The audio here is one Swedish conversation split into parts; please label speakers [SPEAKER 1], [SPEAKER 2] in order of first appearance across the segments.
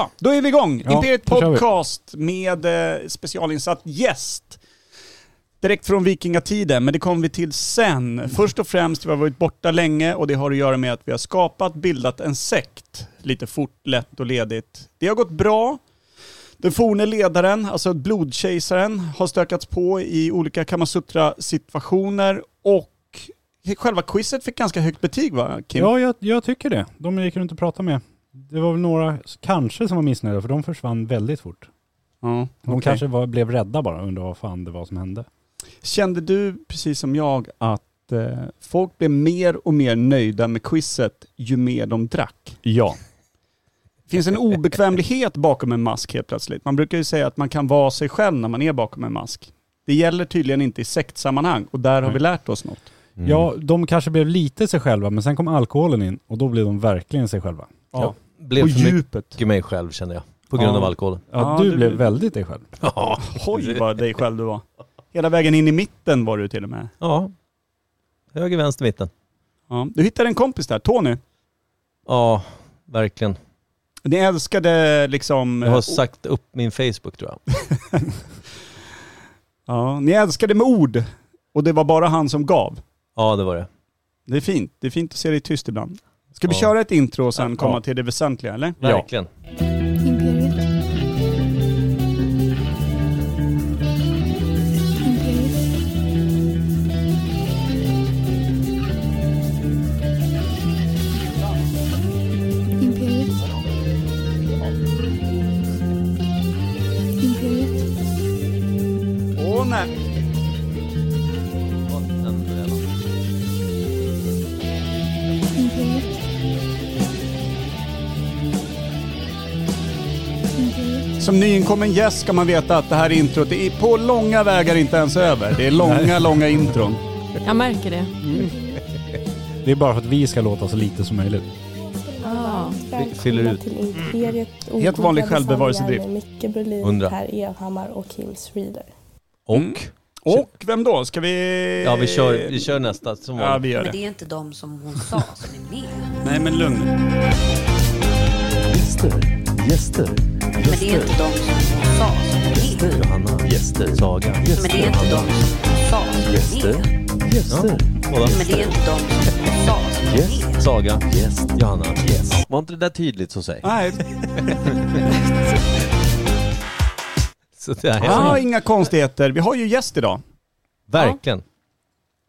[SPEAKER 1] Ja, då är vi igång.
[SPEAKER 2] Ja,
[SPEAKER 1] Imperiet
[SPEAKER 2] då kör vi.
[SPEAKER 1] Podcast med eh, specialinsatt gäst. Direkt från vikingatiden, men det kommer vi till sen. Först och främst, vi har varit borta länge och det har att göra med att vi har skapat, bildat en sekt. Lite fort, lätt och ledigt. Det har gått bra. Den forne ledaren, alltså blodkejsaren, har stökats på i olika Kamasutra-situationer och själva quizet fick ganska högt betyg va, Kim?
[SPEAKER 2] Ja, jag, jag tycker det. De gick runt och pratade med. Det var väl några s- kanske som var missnöjda för de försvann väldigt fort.
[SPEAKER 1] Ja,
[SPEAKER 2] De
[SPEAKER 1] okej.
[SPEAKER 2] kanske var, blev rädda bara och undrade vad fan det var som hände.
[SPEAKER 1] Kände du, precis som jag, att eh, folk blev mer och mer nöjda med quizet ju mer de drack?
[SPEAKER 2] Ja.
[SPEAKER 1] Det finns en obekvämlighet bakom en mask helt plötsligt. Man brukar ju säga att man kan vara sig själv när man är bakom en mask. Det gäller tydligen inte i sektsammanhang och där har vi lärt oss något.
[SPEAKER 2] Ja, de kanske blev lite sig själva men sen kom alkoholen in och då blev de verkligen sig själva.
[SPEAKER 1] Ja.
[SPEAKER 3] Blev
[SPEAKER 1] På
[SPEAKER 3] för mycket
[SPEAKER 1] djupet.
[SPEAKER 3] mig själv känner jag. På grund
[SPEAKER 2] Ja.
[SPEAKER 3] av alkoholen.
[SPEAKER 2] Ja,
[SPEAKER 1] Ja,
[SPEAKER 2] du
[SPEAKER 1] det-
[SPEAKER 2] blev väldigt dig själv.
[SPEAKER 3] Ja.
[SPEAKER 1] Oj vad dig själv du var. Hela vägen in i mitten var du till och med.
[SPEAKER 3] ja. Höger, vänster, mitten.
[SPEAKER 1] Ja. Du hittade en kompis där, Tony.
[SPEAKER 3] Ja, verkligen.
[SPEAKER 1] Ni älskade liksom...
[SPEAKER 3] Jag har
[SPEAKER 1] eh,
[SPEAKER 3] sagt upp min Facebook tror jag.
[SPEAKER 1] ja, ni älskade med ord och det var bara han som gav.
[SPEAKER 3] Ja, det var det.
[SPEAKER 1] Det är fint. Det är fint att se dig tyst ibland. Ska vi
[SPEAKER 3] Ja.
[SPEAKER 1] köra ett intro och sen
[SPEAKER 3] Ja.
[SPEAKER 1] komma till det väsentliga eller?
[SPEAKER 2] Ja.
[SPEAKER 3] Verkligen.
[SPEAKER 4] Imperiet. Imperiet. Imperiet. Imperiet.
[SPEAKER 1] Åh nej.
[SPEAKER 4] Imperiet. Imperiet.
[SPEAKER 1] Som nyinkommen gäst ska man veta att det här introt är på långa vägar inte ens över. Det är långa, långa intron.
[SPEAKER 5] Jag märker det.
[SPEAKER 2] Det är bara för att vi ska låta så lite som möjligt.
[SPEAKER 5] Ah.
[SPEAKER 3] Vi fyller ut.
[SPEAKER 6] till Imperiet och
[SPEAKER 1] Mm. Helt vanlig
[SPEAKER 6] goda
[SPEAKER 1] självbevarelsedrift.
[SPEAKER 6] designer med Micke Berlin,
[SPEAKER 3] Hundra.
[SPEAKER 6] Per Evhammar och Kim Schreeder.
[SPEAKER 1] Mm.
[SPEAKER 3] Och?
[SPEAKER 1] Och vem då? Ska vi...
[SPEAKER 3] Ja, vi kör, vi kör nästa som
[SPEAKER 1] Eh. Ja,
[SPEAKER 3] vanligt.
[SPEAKER 1] vi gör
[SPEAKER 7] Men
[SPEAKER 1] det.
[SPEAKER 7] det är inte de som hon sa som är med.
[SPEAKER 1] Nej men lugn nu.
[SPEAKER 8] Gäster, gäster,
[SPEAKER 7] Men det är inte de som hon sa som är med.
[SPEAKER 3] Johanna.
[SPEAKER 8] Gäster.
[SPEAKER 3] Saga.
[SPEAKER 7] Men det är inte de som hon sa som är
[SPEAKER 8] gäster,
[SPEAKER 7] med.
[SPEAKER 8] gäster,
[SPEAKER 3] Båda.
[SPEAKER 7] Men det är inte de som hon sa som är med.
[SPEAKER 3] Saga.
[SPEAKER 8] gäst,
[SPEAKER 3] Johanna. Yes. Var inte det där tydligt så säg?
[SPEAKER 1] Nej,
[SPEAKER 3] Så det här är
[SPEAKER 1] ah, inga konstigheter. Vi har ju gäst idag.
[SPEAKER 3] Verkligen.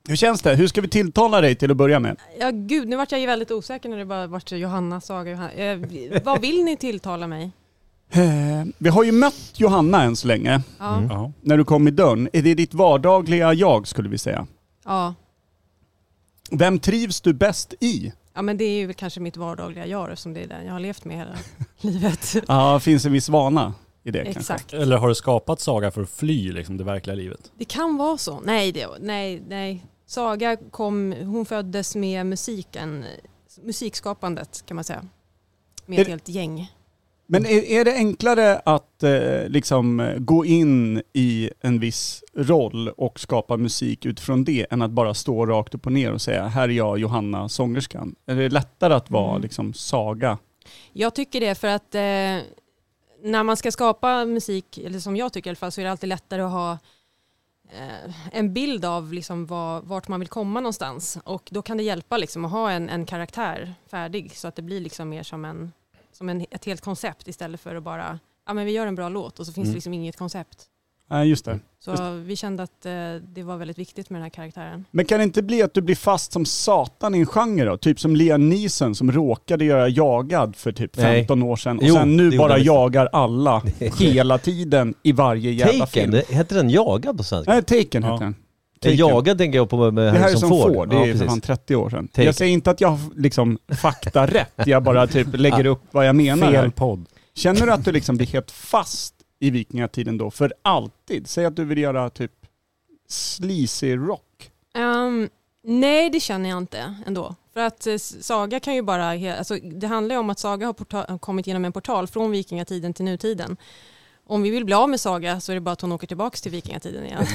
[SPEAKER 1] Hur känns det? Hur ska vi tilltala dig till att börja med?
[SPEAKER 5] Ja, gud, nu vart jag ju väldigt osäker när det bara vart Johanna, Saga, Johanna. Eh, vad vill ni tilltala mig?
[SPEAKER 1] Eh, vi har ju mött Johanna än så länge,
[SPEAKER 5] Ja,
[SPEAKER 2] Ja.
[SPEAKER 1] när du kom i dörren. Är det ditt vardagliga jag skulle vi säga?
[SPEAKER 5] ja.
[SPEAKER 1] Vem trivs du bäst i?
[SPEAKER 5] ja men det är ju väl kanske mitt vardagliga jag som det är den jag har levt med hela livet.
[SPEAKER 1] Ja, finns en viss vana i det kanske.
[SPEAKER 5] Exakt.
[SPEAKER 2] Eller har du skapat Saga för att fly liksom, det verkliga livet?
[SPEAKER 5] Det kan vara så. Nej, det, nej, nej. Saga kom, hon föddes med musiken, musikskapandet kan man säga. Med
[SPEAKER 1] Är
[SPEAKER 5] ett
[SPEAKER 1] det-
[SPEAKER 5] helt gäng.
[SPEAKER 1] Men är, är det enklare att eh, liksom eh, gå in i en viss roll och skapa musik utifrån det än att bara stå rakt upp och ner och säga här är jag Johanna sångerskan? Är det lättare att vara
[SPEAKER 5] Mm.
[SPEAKER 1] liksom Saga?
[SPEAKER 5] Jag tycker det för att eh, när man ska skapa musik, eller som jag tycker i alla fall, så är det alltid lättare att ha eh, en bild av liksom vad, vart man vill komma någonstans. Och då kan det hjälpa liksom att ha en, en karaktär färdig så att det blir liksom mer som, en, som en, ett helt koncept istället för att bara, ja men vi gör en bra låt och så finns
[SPEAKER 1] Mm.
[SPEAKER 5] det liksom inget koncept.
[SPEAKER 1] Nej, just det.
[SPEAKER 5] Så vi kände att eh, det var väldigt viktigt med den här karaktären.
[SPEAKER 1] Men kan det inte bli att du blir fast som satan i en genre då? Typ som Liam Neeson som råkade göra jagad för typ
[SPEAKER 3] Nej.
[SPEAKER 1] 15 år sedan och
[SPEAKER 3] Jo,
[SPEAKER 1] sen
[SPEAKER 3] det
[SPEAKER 1] nu
[SPEAKER 3] gjorde
[SPEAKER 1] bara
[SPEAKER 3] han visst.
[SPEAKER 1] jagar alla hela tiden i varje jävla
[SPEAKER 3] Taken.
[SPEAKER 1] film.
[SPEAKER 3] det- Heter den jagad på svenska?
[SPEAKER 1] Nej, Taken
[SPEAKER 2] Ja.
[SPEAKER 1] heter den.
[SPEAKER 3] Nej, jagad tänker jag på med
[SPEAKER 1] Det här är som
[SPEAKER 3] Harrison Ford.
[SPEAKER 1] Ford, det
[SPEAKER 3] Ja,
[SPEAKER 1] är för
[SPEAKER 3] precis.
[SPEAKER 1] fan 30 år sedan.
[SPEAKER 3] Take
[SPEAKER 1] jag säger inte att jag har liksom fakta rätt, jag bara typ lägger upp vad jag menar.
[SPEAKER 2] Fel
[SPEAKER 1] Här.
[SPEAKER 2] podd.
[SPEAKER 1] Känner du att du liksom blir helt fast i vikingatiden då, för alltid? Säg att du vill göra typ sleazy rock.
[SPEAKER 5] Ehm, nej, det känner jag inte ändå. För att eh, Saga kan ju bara, he- alltså, det handlar ju om att Saga har porta- kommit genom en portal från vikingatiden till nutiden. Om vi vill bli av med Saga så är det bara att hon åker tillbaka till vikingatiden igen.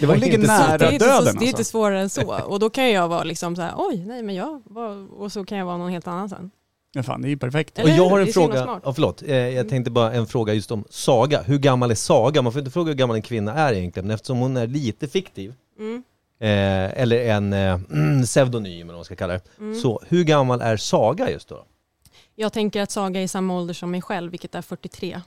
[SPEAKER 3] Det var
[SPEAKER 1] Hon ligger
[SPEAKER 3] inte
[SPEAKER 1] nära.
[SPEAKER 3] så-
[SPEAKER 5] det, är inte så,
[SPEAKER 1] döden
[SPEAKER 5] det är inte
[SPEAKER 1] alltså.
[SPEAKER 5] svårare än så. Och då kan jag vara liksom så här, oj, nej men jag, var, och så kan jag vara någon helt annan sen.
[SPEAKER 1] Men fan, det är ju perfekt.
[SPEAKER 5] Eller
[SPEAKER 3] Och jag
[SPEAKER 5] hur?
[SPEAKER 3] har en
[SPEAKER 5] Det är så himla
[SPEAKER 3] fråga,
[SPEAKER 5] smart.
[SPEAKER 3] ja, förlåt, eh, jag tänkte bara en fråga just om Saga. Hur gammal är Saga? Man får inte fråga hur gammal en kvinna är egentligen, men eftersom hon är lite fiktiv,
[SPEAKER 5] Mm.
[SPEAKER 3] eh, eller en eh, pseudonym eller vad man ska kalla det.
[SPEAKER 5] Mm.
[SPEAKER 3] Så hur gammal är Saga just då?
[SPEAKER 5] Jag tänker att Saga är samma ålder som mig själv, vilket är 43.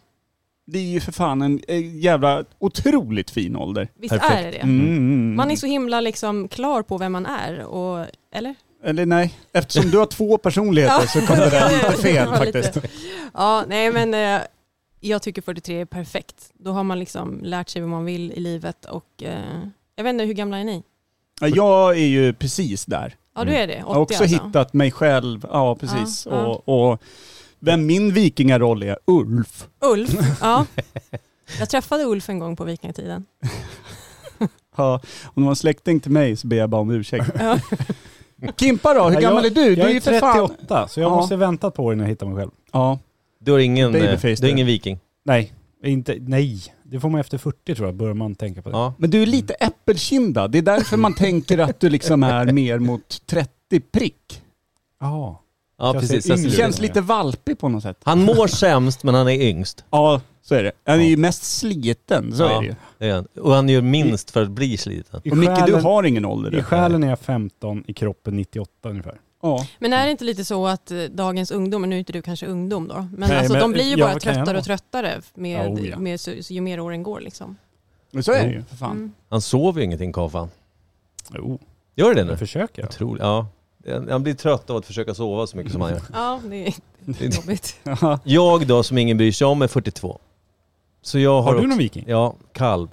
[SPEAKER 1] Det är ju för fan en eh, jävla otroligt fin ålder.
[SPEAKER 5] Visst
[SPEAKER 3] Perfekt.
[SPEAKER 5] är det det?
[SPEAKER 1] Mm, mm,
[SPEAKER 5] Man är så himla liksom klar på vem man är. Och, eller?
[SPEAKER 1] Eller nej, eftersom du har två personligheter så kom det där lite fel faktiskt.
[SPEAKER 5] Ja, nej men eh, jag tycker 43 är perfekt. Då har man liksom lärt sig vad man vill i livet och eh, jag vet inte, hur gamla är ni?
[SPEAKER 1] Ja, Jag är ju precis där.
[SPEAKER 5] Ja, du är det. 80
[SPEAKER 1] Jag har också
[SPEAKER 5] alltså.
[SPEAKER 1] hittat mig själv, ja precis.
[SPEAKER 5] Ja, ja.
[SPEAKER 1] Och, och vem min vikingaroll är, Ulf.
[SPEAKER 5] Ulf, ja. Jag träffade Ulf en gång på vikingatiden.
[SPEAKER 1] Ja, om du var en släkting till mig så ber jag bara om ursäkt.
[SPEAKER 5] Ja.
[SPEAKER 1] Kimpa då, hur
[SPEAKER 2] Ja,
[SPEAKER 1] gammal är
[SPEAKER 2] jag-
[SPEAKER 1] du? Du
[SPEAKER 2] Jag
[SPEAKER 1] är
[SPEAKER 2] är,
[SPEAKER 1] ju för fan...
[SPEAKER 2] 38, så jag
[SPEAKER 1] Ja.
[SPEAKER 2] måste vänta på innan jag hittar mig själv.
[SPEAKER 1] Ja,
[SPEAKER 3] Du har ingen, eh,
[SPEAKER 1] Babyface
[SPEAKER 3] du har
[SPEAKER 1] där.
[SPEAKER 3] ingen viking?
[SPEAKER 2] Nej, inte, nej. Det får man efter 40 tror jag, börjar man tänka på det.
[SPEAKER 3] Ja.
[SPEAKER 1] men du är lite äppelkindad. Det är därför man tänker att du liksom är mer mot 30 prick.
[SPEAKER 2] Ja.
[SPEAKER 3] Ja,
[SPEAKER 2] Jag
[SPEAKER 3] precis.
[SPEAKER 2] ser
[SPEAKER 3] Jag ser
[SPEAKER 1] Det
[SPEAKER 2] yngre
[SPEAKER 3] det.
[SPEAKER 1] känns lite valpig på något sätt.
[SPEAKER 3] Han mår sämst, men han är yngst.
[SPEAKER 1] Ja, så är det. Han är ju mest sliten, så
[SPEAKER 3] Ja.
[SPEAKER 1] är det ju.
[SPEAKER 3] Det är han. Och han gör minst för att bli sliten.
[SPEAKER 2] I,
[SPEAKER 1] Och Micke, du
[SPEAKER 2] själen-
[SPEAKER 1] har ingen ålder.
[SPEAKER 2] I
[SPEAKER 1] du.
[SPEAKER 2] själen är jag 15, i kroppen 98 ungefär.
[SPEAKER 1] Ja.
[SPEAKER 5] Men är det inte lite så att eh, dagens ungdomar, nu är inte du kanske ungdom då, men,
[SPEAKER 2] Nej,
[SPEAKER 5] alltså,
[SPEAKER 2] men
[SPEAKER 5] de blir ju
[SPEAKER 2] jag
[SPEAKER 5] bara
[SPEAKER 2] kan gärna
[SPEAKER 5] tröttare
[SPEAKER 2] vara.
[SPEAKER 5] och tröttare med,
[SPEAKER 2] Ja, oh ja.
[SPEAKER 5] med, så, så, ju mer åren går liksom.
[SPEAKER 1] Men så är det
[SPEAKER 2] Jo.
[SPEAKER 1] ju, för fan.
[SPEAKER 5] Mm.
[SPEAKER 3] Han sover ju ingenting, Kafan. Oh.
[SPEAKER 2] Jo,
[SPEAKER 3] Gör det nu?
[SPEAKER 2] jag försöker. jag.
[SPEAKER 3] Otroligt. Ja. Han blir trött av att försöka sova så mycket som han gör.
[SPEAKER 5] Ja, det är jobbigt.
[SPEAKER 1] Ja.
[SPEAKER 3] Jag då, som ingen bryr sig om, är 42. Så jag har,
[SPEAKER 2] Har du
[SPEAKER 3] också-
[SPEAKER 2] någon viking?
[SPEAKER 3] Ja, kalv.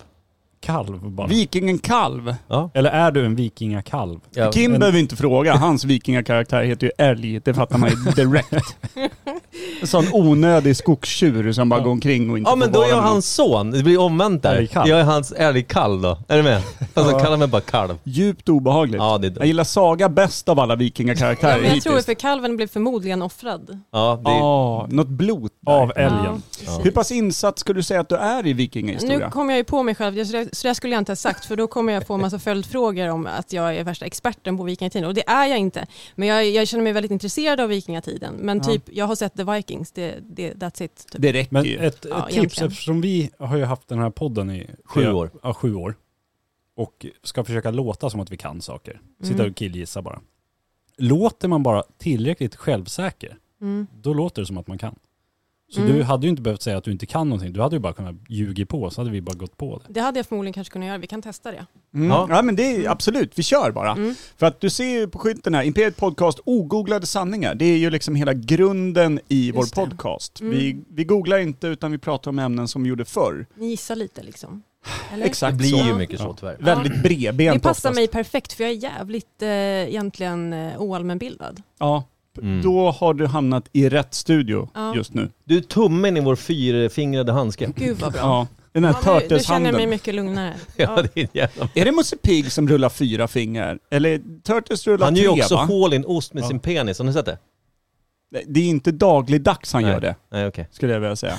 [SPEAKER 2] Kalv bara.
[SPEAKER 1] Vikingen Kalv.
[SPEAKER 3] Ja.
[SPEAKER 2] Eller är du en vikingakalv?
[SPEAKER 3] Ja.
[SPEAKER 1] Kim
[SPEAKER 2] men-
[SPEAKER 1] behöver inte fråga. Hans vikingakaraktär heter ju Älg. Det fattar man ju direkt. En sån onödig skogstjur som bara går omkring och inte
[SPEAKER 3] Ja men
[SPEAKER 1] får
[SPEAKER 3] då
[SPEAKER 1] vara
[SPEAKER 3] är jag
[SPEAKER 1] någon.
[SPEAKER 3] hans son, det blir omvänt där.
[SPEAKER 2] Älgkalv.
[SPEAKER 3] Jag är hans älgkalv då, är du med? Fast han kallar mig bara
[SPEAKER 1] Typ.
[SPEAKER 3] kalv.
[SPEAKER 1] Djupt obehagligt.
[SPEAKER 3] Ja det är
[SPEAKER 1] Jag
[SPEAKER 3] dumt.
[SPEAKER 1] gillar Saga bäst av alla vikingakaraktärer
[SPEAKER 5] Ja, men jag
[SPEAKER 1] hittills.
[SPEAKER 5] tror för kalven blev förmodligen offrad.
[SPEAKER 3] Ja, det är,
[SPEAKER 1] Ja, något blod där.
[SPEAKER 2] Av älgen.
[SPEAKER 5] Ja,
[SPEAKER 3] Ja.
[SPEAKER 1] Hur
[SPEAKER 5] precis.
[SPEAKER 1] pass insatt skulle du säga att du är i
[SPEAKER 5] Nu
[SPEAKER 1] vikingahistoria?
[SPEAKER 5] kom jag ju på mig själv, så det- så det skulle jag inte ha sagt, för då kommer jag få en massa följdfrågor om att jag är värsta experten på vikingatiden, och det är jag inte. Men jag, jag känner mig väldigt intresserad av vikingatiden, men typ, jag har sett The Vikings, det, det, that's it. Typ.
[SPEAKER 1] Det räcker
[SPEAKER 2] Men
[SPEAKER 1] ju.
[SPEAKER 2] ett,
[SPEAKER 5] Ja,
[SPEAKER 2] ett tips,
[SPEAKER 5] egentligen.
[SPEAKER 2] eftersom vi har ju haft den här podden i
[SPEAKER 3] Sju
[SPEAKER 2] flera-
[SPEAKER 3] år.
[SPEAKER 2] Ja, sju år. Och ska försöka låta som att vi kan saker.
[SPEAKER 5] Mm.
[SPEAKER 2] Sitta och killgissa bara. Låter man bara tillräckligt självsäker,
[SPEAKER 5] Mm.
[SPEAKER 2] då låter det som att man kan. Så
[SPEAKER 5] Mm.
[SPEAKER 2] du hade ju inte behövt säga att du inte kan någonting. Du hade ju bara kunnat ljuga på, så hade vi bara gått på det.
[SPEAKER 5] Det hade jag förmodligen kanske kunnat göra, vi kan testa det.
[SPEAKER 1] Mm.
[SPEAKER 3] Ja.
[SPEAKER 1] Ja. men det är absolut, vi kör bara.
[SPEAKER 5] Mm.
[SPEAKER 1] För att du ser ju på skylten här, Imperiet Podcast, ogooglade sanningar. Det är ju liksom hela grunden i vår
[SPEAKER 5] Just det.
[SPEAKER 1] podcast.
[SPEAKER 5] Mm.
[SPEAKER 1] Vi, vi googlar inte utan vi pratar om ämnen som vi gjorde förr.
[SPEAKER 5] Ni gissar lite liksom. Eller?
[SPEAKER 1] Exakt
[SPEAKER 3] det blir
[SPEAKER 1] så.
[SPEAKER 3] ju mycket så tyvärr.
[SPEAKER 5] Ja.
[SPEAKER 1] Väldigt bredbent
[SPEAKER 5] Det passar
[SPEAKER 1] oftast.
[SPEAKER 5] mig perfekt, för jag är jävligt eh, egentligen eh, oallmänbildad.
[SPEAKER 1] Ja.
[SPEAKER 3] Mm.
[SPEAKER 1] Då har du hamnat i rätt studio
[SPEAKER 5] Ja.
[SPEAKER 1] just nu.
[SPEAKER 3] Du är tummen i vår fyrfingrade handske.
[SPEAKER 5] Gud vad bra.
[SPEAKER 1] Ja. Den här
[SPEAKER 5] Ja, nu, nu känner jag
[SPEAKER 1] Turtles-handen.
[SPEAKER 5] mig mycket lugnare.
[SPEAKER 3] Ja, det är en jävla...
[SPEAKER 1] Är det Musse Pig som rullar fyra fingrar? Eller Turtles rullar
[SPEAKER 3] Han gör
[SPEAKER 1] tre
[SPEAKER 3] ju också
[SPEAKER 1] va?
[SPEAKER 3] hål i en ost med
[SPEAKER 1] Ja.
[SPEAKER 3] sin penis, har ni sett det?
[SPEAKER 1] Nej, Det är inte dagligdags han
[SPEAKER 3] Nej.
[SPEAKER 1] gör det,
[SPEAKER 3] Nej okej.
[SPEAKER 1] skulle jag vilja säga.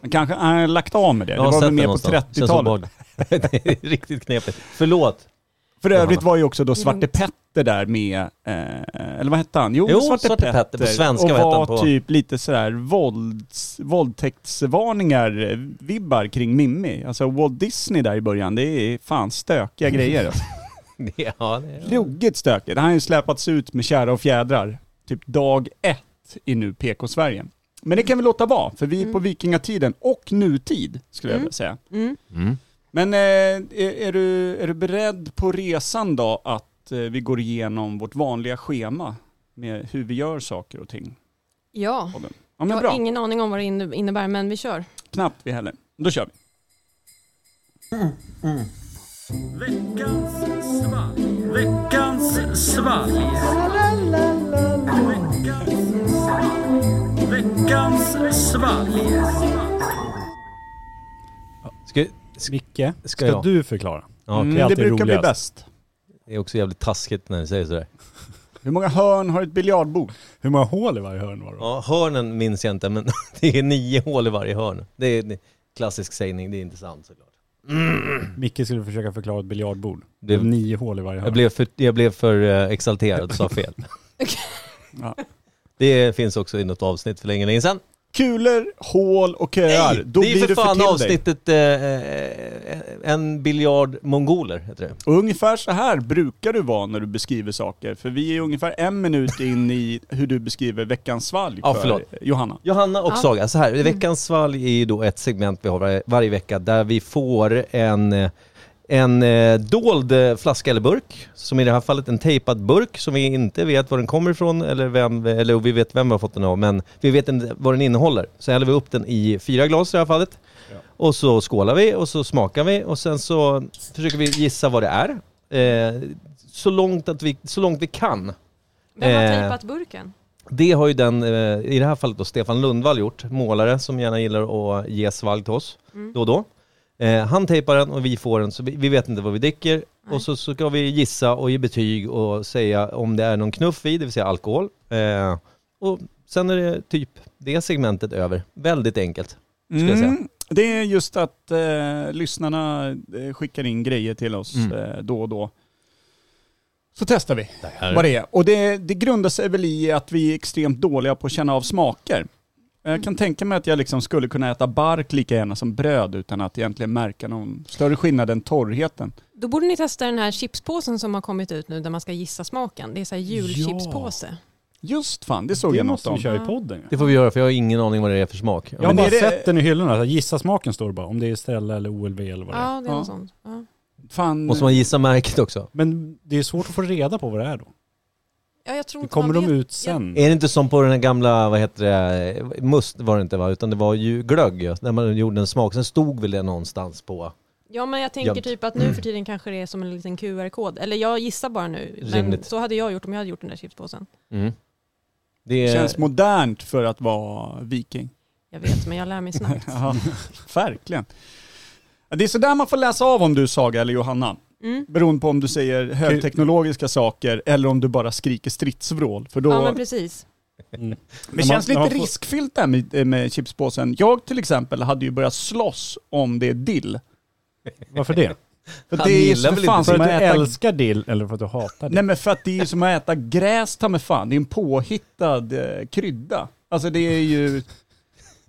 [SPEAKER 1] Han kanske han har lagt av med det.
[SPEAKER 3] Jag
[SPEAKER 1] det
[SPEAKER 3] har
[SPEAKER 1] var
[SPEAKER 3] sett
[SPEAKER 1] väl
[SPEAKER 3] det
[SPEAKER 1] mer på
[SPEAKER 3] någonstans. Känns
[SPEAKER 1] 30-talet.
[SPEAKER 3] obehagligt. det är riktigt knepigt. Förlåt.
[SPEAKER 1] För övrigt var ju också då
[SPEAKER 5] Det är
[SPEAKER 1] Svarte
[SPEAKER 5] lugnt.
[SPEAKER 1] Petter där med, eh, eller vad hette han? Jo,
[SPEAKER 3] Jo, Svarte Petter. På svenska,
[SPEAKER 1] och
[SPEAKER 3] vad hette
[SPEAKER 1] var
[SPEAKER 3] han på?
[SPEAKER 1] typ lite sådär vålds, våldtäktsvarningar, eh, vibbar kring Mimmi. Alltså Walt Disney där i början, det är fan stökiga grejer. Alltså.
[SPEAKER 3] Ja, det är...
[SPEAKER 1] Ruggigt stökigt. Han har ju släpats ut med kära och fjädrar, typ dag ett i nu PK-Sverige. Men det kan vi låta vara, för vi är på vikingatiden och nutid, skulle jag vilja säga.
[SPEAKER 5] Mm.
[SPEAKER 3] Mm.
[SPEAKER 1] Men eh, är, är, du, är du beredd på resan då att eh, vi går igenom vårt vanliga schema med hur vi gör saker och ting?
[SPEAKER 5] Ja,
[SPEAKER 1] Ja
[SPEAKER 5] jag
[SPEAKER 1] men
[SPEAKER 5] har
[SPEAKER 1] bra,
[SPEAKER 5] ingen aning om vad det inne- innebär, men vi kör.
[SPEAKER 1] knappt vi heller. Då kör vi.
[SPEAKER 3] Ska...
[SPEAKER 2] Micke, ska
[SPEAKER 3] jag?
[SPEAKER 2] du förklara?
[SPEAKER 3] Ja,
[SPEAKER 2] är
[SPEAKER 3] okej.
[SPEAKER 1] Mm, det
[SPEAKER 2] alltid
[SPEAKER 1] brukar bli
[SPEAKER 2] roligast.
[SPEAKER 1] bäst.
[SPEAKER 3] Det är också jävligt taskigt när ni säger sådär.
[SPEAKER 1] Hur många hörn har ett biljardbord?
[SPEAKER 2] Hur många hål i varje hörn var det?
[SPEAKER 3] Ja, hörnen minns jag inte, men det är nio hål i varje hörn. Det är en klassisk sägning, det är inte sant såklart.
[SPEAKER 2] Micke skulle försöka förklara ett biljardbord. Det
[SPEAKER 3] Det-
[SPEAKER 1] Mm.
[SPEAKER 2] var nio hål i varje hörn.
[SPEAKER 3] Jag blev för, jag blev för eh, exalterad och sa fel.
[SPEAKER 1] Ja.
[SPEAKER 3] Det finns också i något avsnitt för länge, länge sedan.
[SPEAKER 1] Kulor, hål och köar.
[SPEAKER 3] Nej,
[SPEAKER 1] Då
[SPEAKER 3] det är
[SPEAKER 1] blir
[SPEAKER 3] för
[SPEAKER 1] du
[SPEAKER 3] fan
[SPEAKER 1] för till dig.
[SPEAKER 3] avsnittet eh, eh, En biljard mongoler, heter det.
[SPEAKER 1] Och ungefär så här brukar du vara när du beskriver saker. För vi är ungefär en minut in i hur du beskriver veckans svalg
[SPEAKER 3] Ja,
[SPEAKER 1] för
[SPEAKER 3] förlåt.
[SPEAKER 1] Johanna.
[SPEAKER 3] Johanna och
[SPEAKER 5] Ja.
[SPEAKER 3] Saga, så här, veckans svalg är ju då ett segment vi har varje, varje vecka där vi får en, eh, en eh, dold eh, flaska eller burk, som i det här fallet en tejpad burk som vi inte vet var den kommer ifrån eller vem, eller vi vet vem vi har fått den av, men vi vet inte vad den innehåller. Så häller vi upp den i fyra glas i det här fallet och så skålar vi och så smakar vi och sen så försöker vi gissa vad det är. Eh, så, långt att vi, så långt vi kan.
[SPEAKER 5] Vem har
[SPEAKER 3] Eh.
[SPEAKER 5] tejpat burken?
[SPEAKER 3] Det har ju den, eh, i det här fallet då, Stefan Lundvall gjort, målare som gärna gillar att ge svalg till oss
[SPEAKER 5] Mm.
[SPEAKER 3] då och då. Eh, han tejpar den och vi får den, så vi, vi vet inte vad vi dricker.
[SPEAKER 5] Nej.
[SPEAKER 3] Och så, så ska vi gissa och ge betyg och säga om det är någon knuff i, det vill säga alkohol. Eh, och sen är det typ det segmentet över. Väldigt enkelt. Ska jag säga.
[SPEAKER 1] Mm, det är just att eh, lyssnarna eh, skickar in grejer till oss
[SPEAKER 3] Mm.
[SPEAKER 1] eh, då och då. Så testar vi vad det är. Och det, det grundar sig väl i att vi är extremt dåliga på att känna av smaker. Jag kan tänka mig att jag liksom skulle kunna äta bark lika gärna som bröd utan att egentligen märka någon större skillnad än torrheten.
[SPEAKER 5] Då borde ni testa den här chipspåsen som har kommit ut nu där man ska gissa smaken. Det är så här julchipspåse.
[SPEAKER 1] Just fan, det såg
[SPEAKER 2] det
[SPEAKER 1] jag något
[SPEAKER 2] måste
[SPEAKER 1] om.
[SPEAKER 2] vi köra i
[SPEAKER 5] Ja.
[SPEAKER 2] podden.
[SPEAKER 3] Det får vi göra för jag har ingen aning vad det är för smak.
[SPEAKER 2] Jag har
[SPEAKER 1] Men
[SPEAKER 2] bara
[SPEAKER 1] är det-
[SPEAKER 2] sett den i hyllorna, så gissa smaken står det bara. Om det är Estrella eller OLV eller vad det är.
[SPEAKER 5] Ja, det är
[SPEAKER 1] Ja.
[SPEAKER 5] något sånt. Ja.
[SPEAKER 1] Fan,
[SPEAKER 3] Måste man gissa märket också?
[SPEAKER 2] Men det är svårt att få reda på vad det är då.
[SPEAKER 5] Ja, jag tror
[SPEAKER 2] Det
[SPEAKER 5] inte
[SPEAKER 2] kommer
[SPEAKER 5] man
[SPEAKER 2] de
[SPEAKER 5] vet.
[SPEAKER 2] ut sen?
[SPEAKER 3] Är det inte som på den här gamla, vad heter det, must var det inte va? Utan det var ju glögg ju, när man gjorde en smak. Sen stod väl det någonstans på
[SPEAKER 5] Ja, men jag tänker
[SPEAKER 3] Gömt.
[SPEAKER 5] typ att nu för tiden kanske det är som en liten QR-kod. Eller jag gissar bara nu. Men
[SPEAKER 3] Rimligt.
[SPEAKER 5] så hade jag gjort om jag hade gjort den där chipspåsen.
[SPEAKER 3] Det är...
[SPEAKER 1] känns modernt för att vara viking.
[SPEAKER 5] Jag vet, men jag lär mig snabbt.
[SPEAKER 1] Ja, verkligen. Det är sådär man får läsa av om du Saga eller Johanna.
[SPEAKER 5] Mm.
[SPEAKER 1] Beroende på om du säger högteknologiska saker eller om du bara skriker stridsvrål. För då,
[SPEAKER 5] Ja, men
[SPEAKER 1] men
[SPEAKER 5] precis.
[SPEAKER 2] Mm.
[SPEAKER 1] det känns
[SPEAKER 2] När man- när
[SPEAKER 1] lite
[SPEAKER 2] man får-
[SPEAKER 1] riskfyllt det här med, med chipspåsen. Jag till exempel hade ju börjat slåss om det är dill.
[SPEAKER 2] Varför det?
[SPEAKER 1] För
[SPEAKER 3] Han
[SPEAKER 1] det är ju
[SPEAKER 3] gillar
[SPEAKER 1] för
[SPEAKER 3] väl
[SPEAKER 1] fan
[SPEAKER 2] För
[SPEAKER 1] som
[SPEAKER 2] att
[SPEAKER 1] att
[SPEAKER 2] du
[SPEAKER 1] äta...
[SPEAKER 2] älskar dill eller för att du hatar dill?
[SPEAKER 1] Nej men för att det är ju som att äta gräs ta mig fan. Det är en påhittad eh, krydda. Alltså det är ju...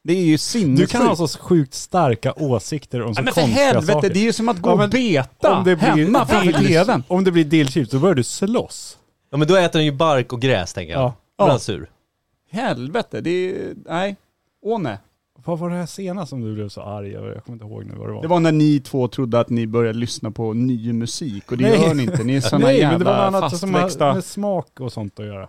[SPEAKER 1] Det är ju
[SPEAKER 2] Du
[SPEAKER 1] sinnessjukt.
[SPEAKER 2] kan ha så sjukt starka åsikter om så
[SPEAKER 1] Ja, men för
[SPEAKER 2] konstiga
[SPEAKER 1] helvete,
[SPEAKER 2] saker.
[SPEAKER 1] det är ju som att gå
[SPEAKER 2] Ja,
[SPEAKER 1] och
[SPEAKER 2] men
[SPEAKER 1] beta hemma framför tvn.
[SPEAKER 2] Om det blir dillchips, då börjar du slåss.
[SPEAKER 3] Ja men då äter den ju bark och gräs tänker jag.
[SPEAKER 2] Ja.
[SPEAKER 3] Då blir
[SPEAKER 1] Ja.
[SPEAKER 3] han sur.
[SPEAKER 1] Helvete, det är ju... Nej. Åh nej.
[SPEAKER 2] Vad var det här senast som du blev så arg över? Jag kommer inte ihåg nu vad det var.
[SPEAKER 1] Det var när ni två trodde att ni började lyssna på ny musik och det
[SPEAKER 2] Nej.
[SPEAKER 1] gör ni inte. Ni är sådana
[SPEAKER 2] Nej,
[SPEAKER 1] jävla
[SPEAKER 2] men det var något annat som har
[SPEAKER 1] fastväxta...
[SPEAKER 2] med smak och sånt att göra.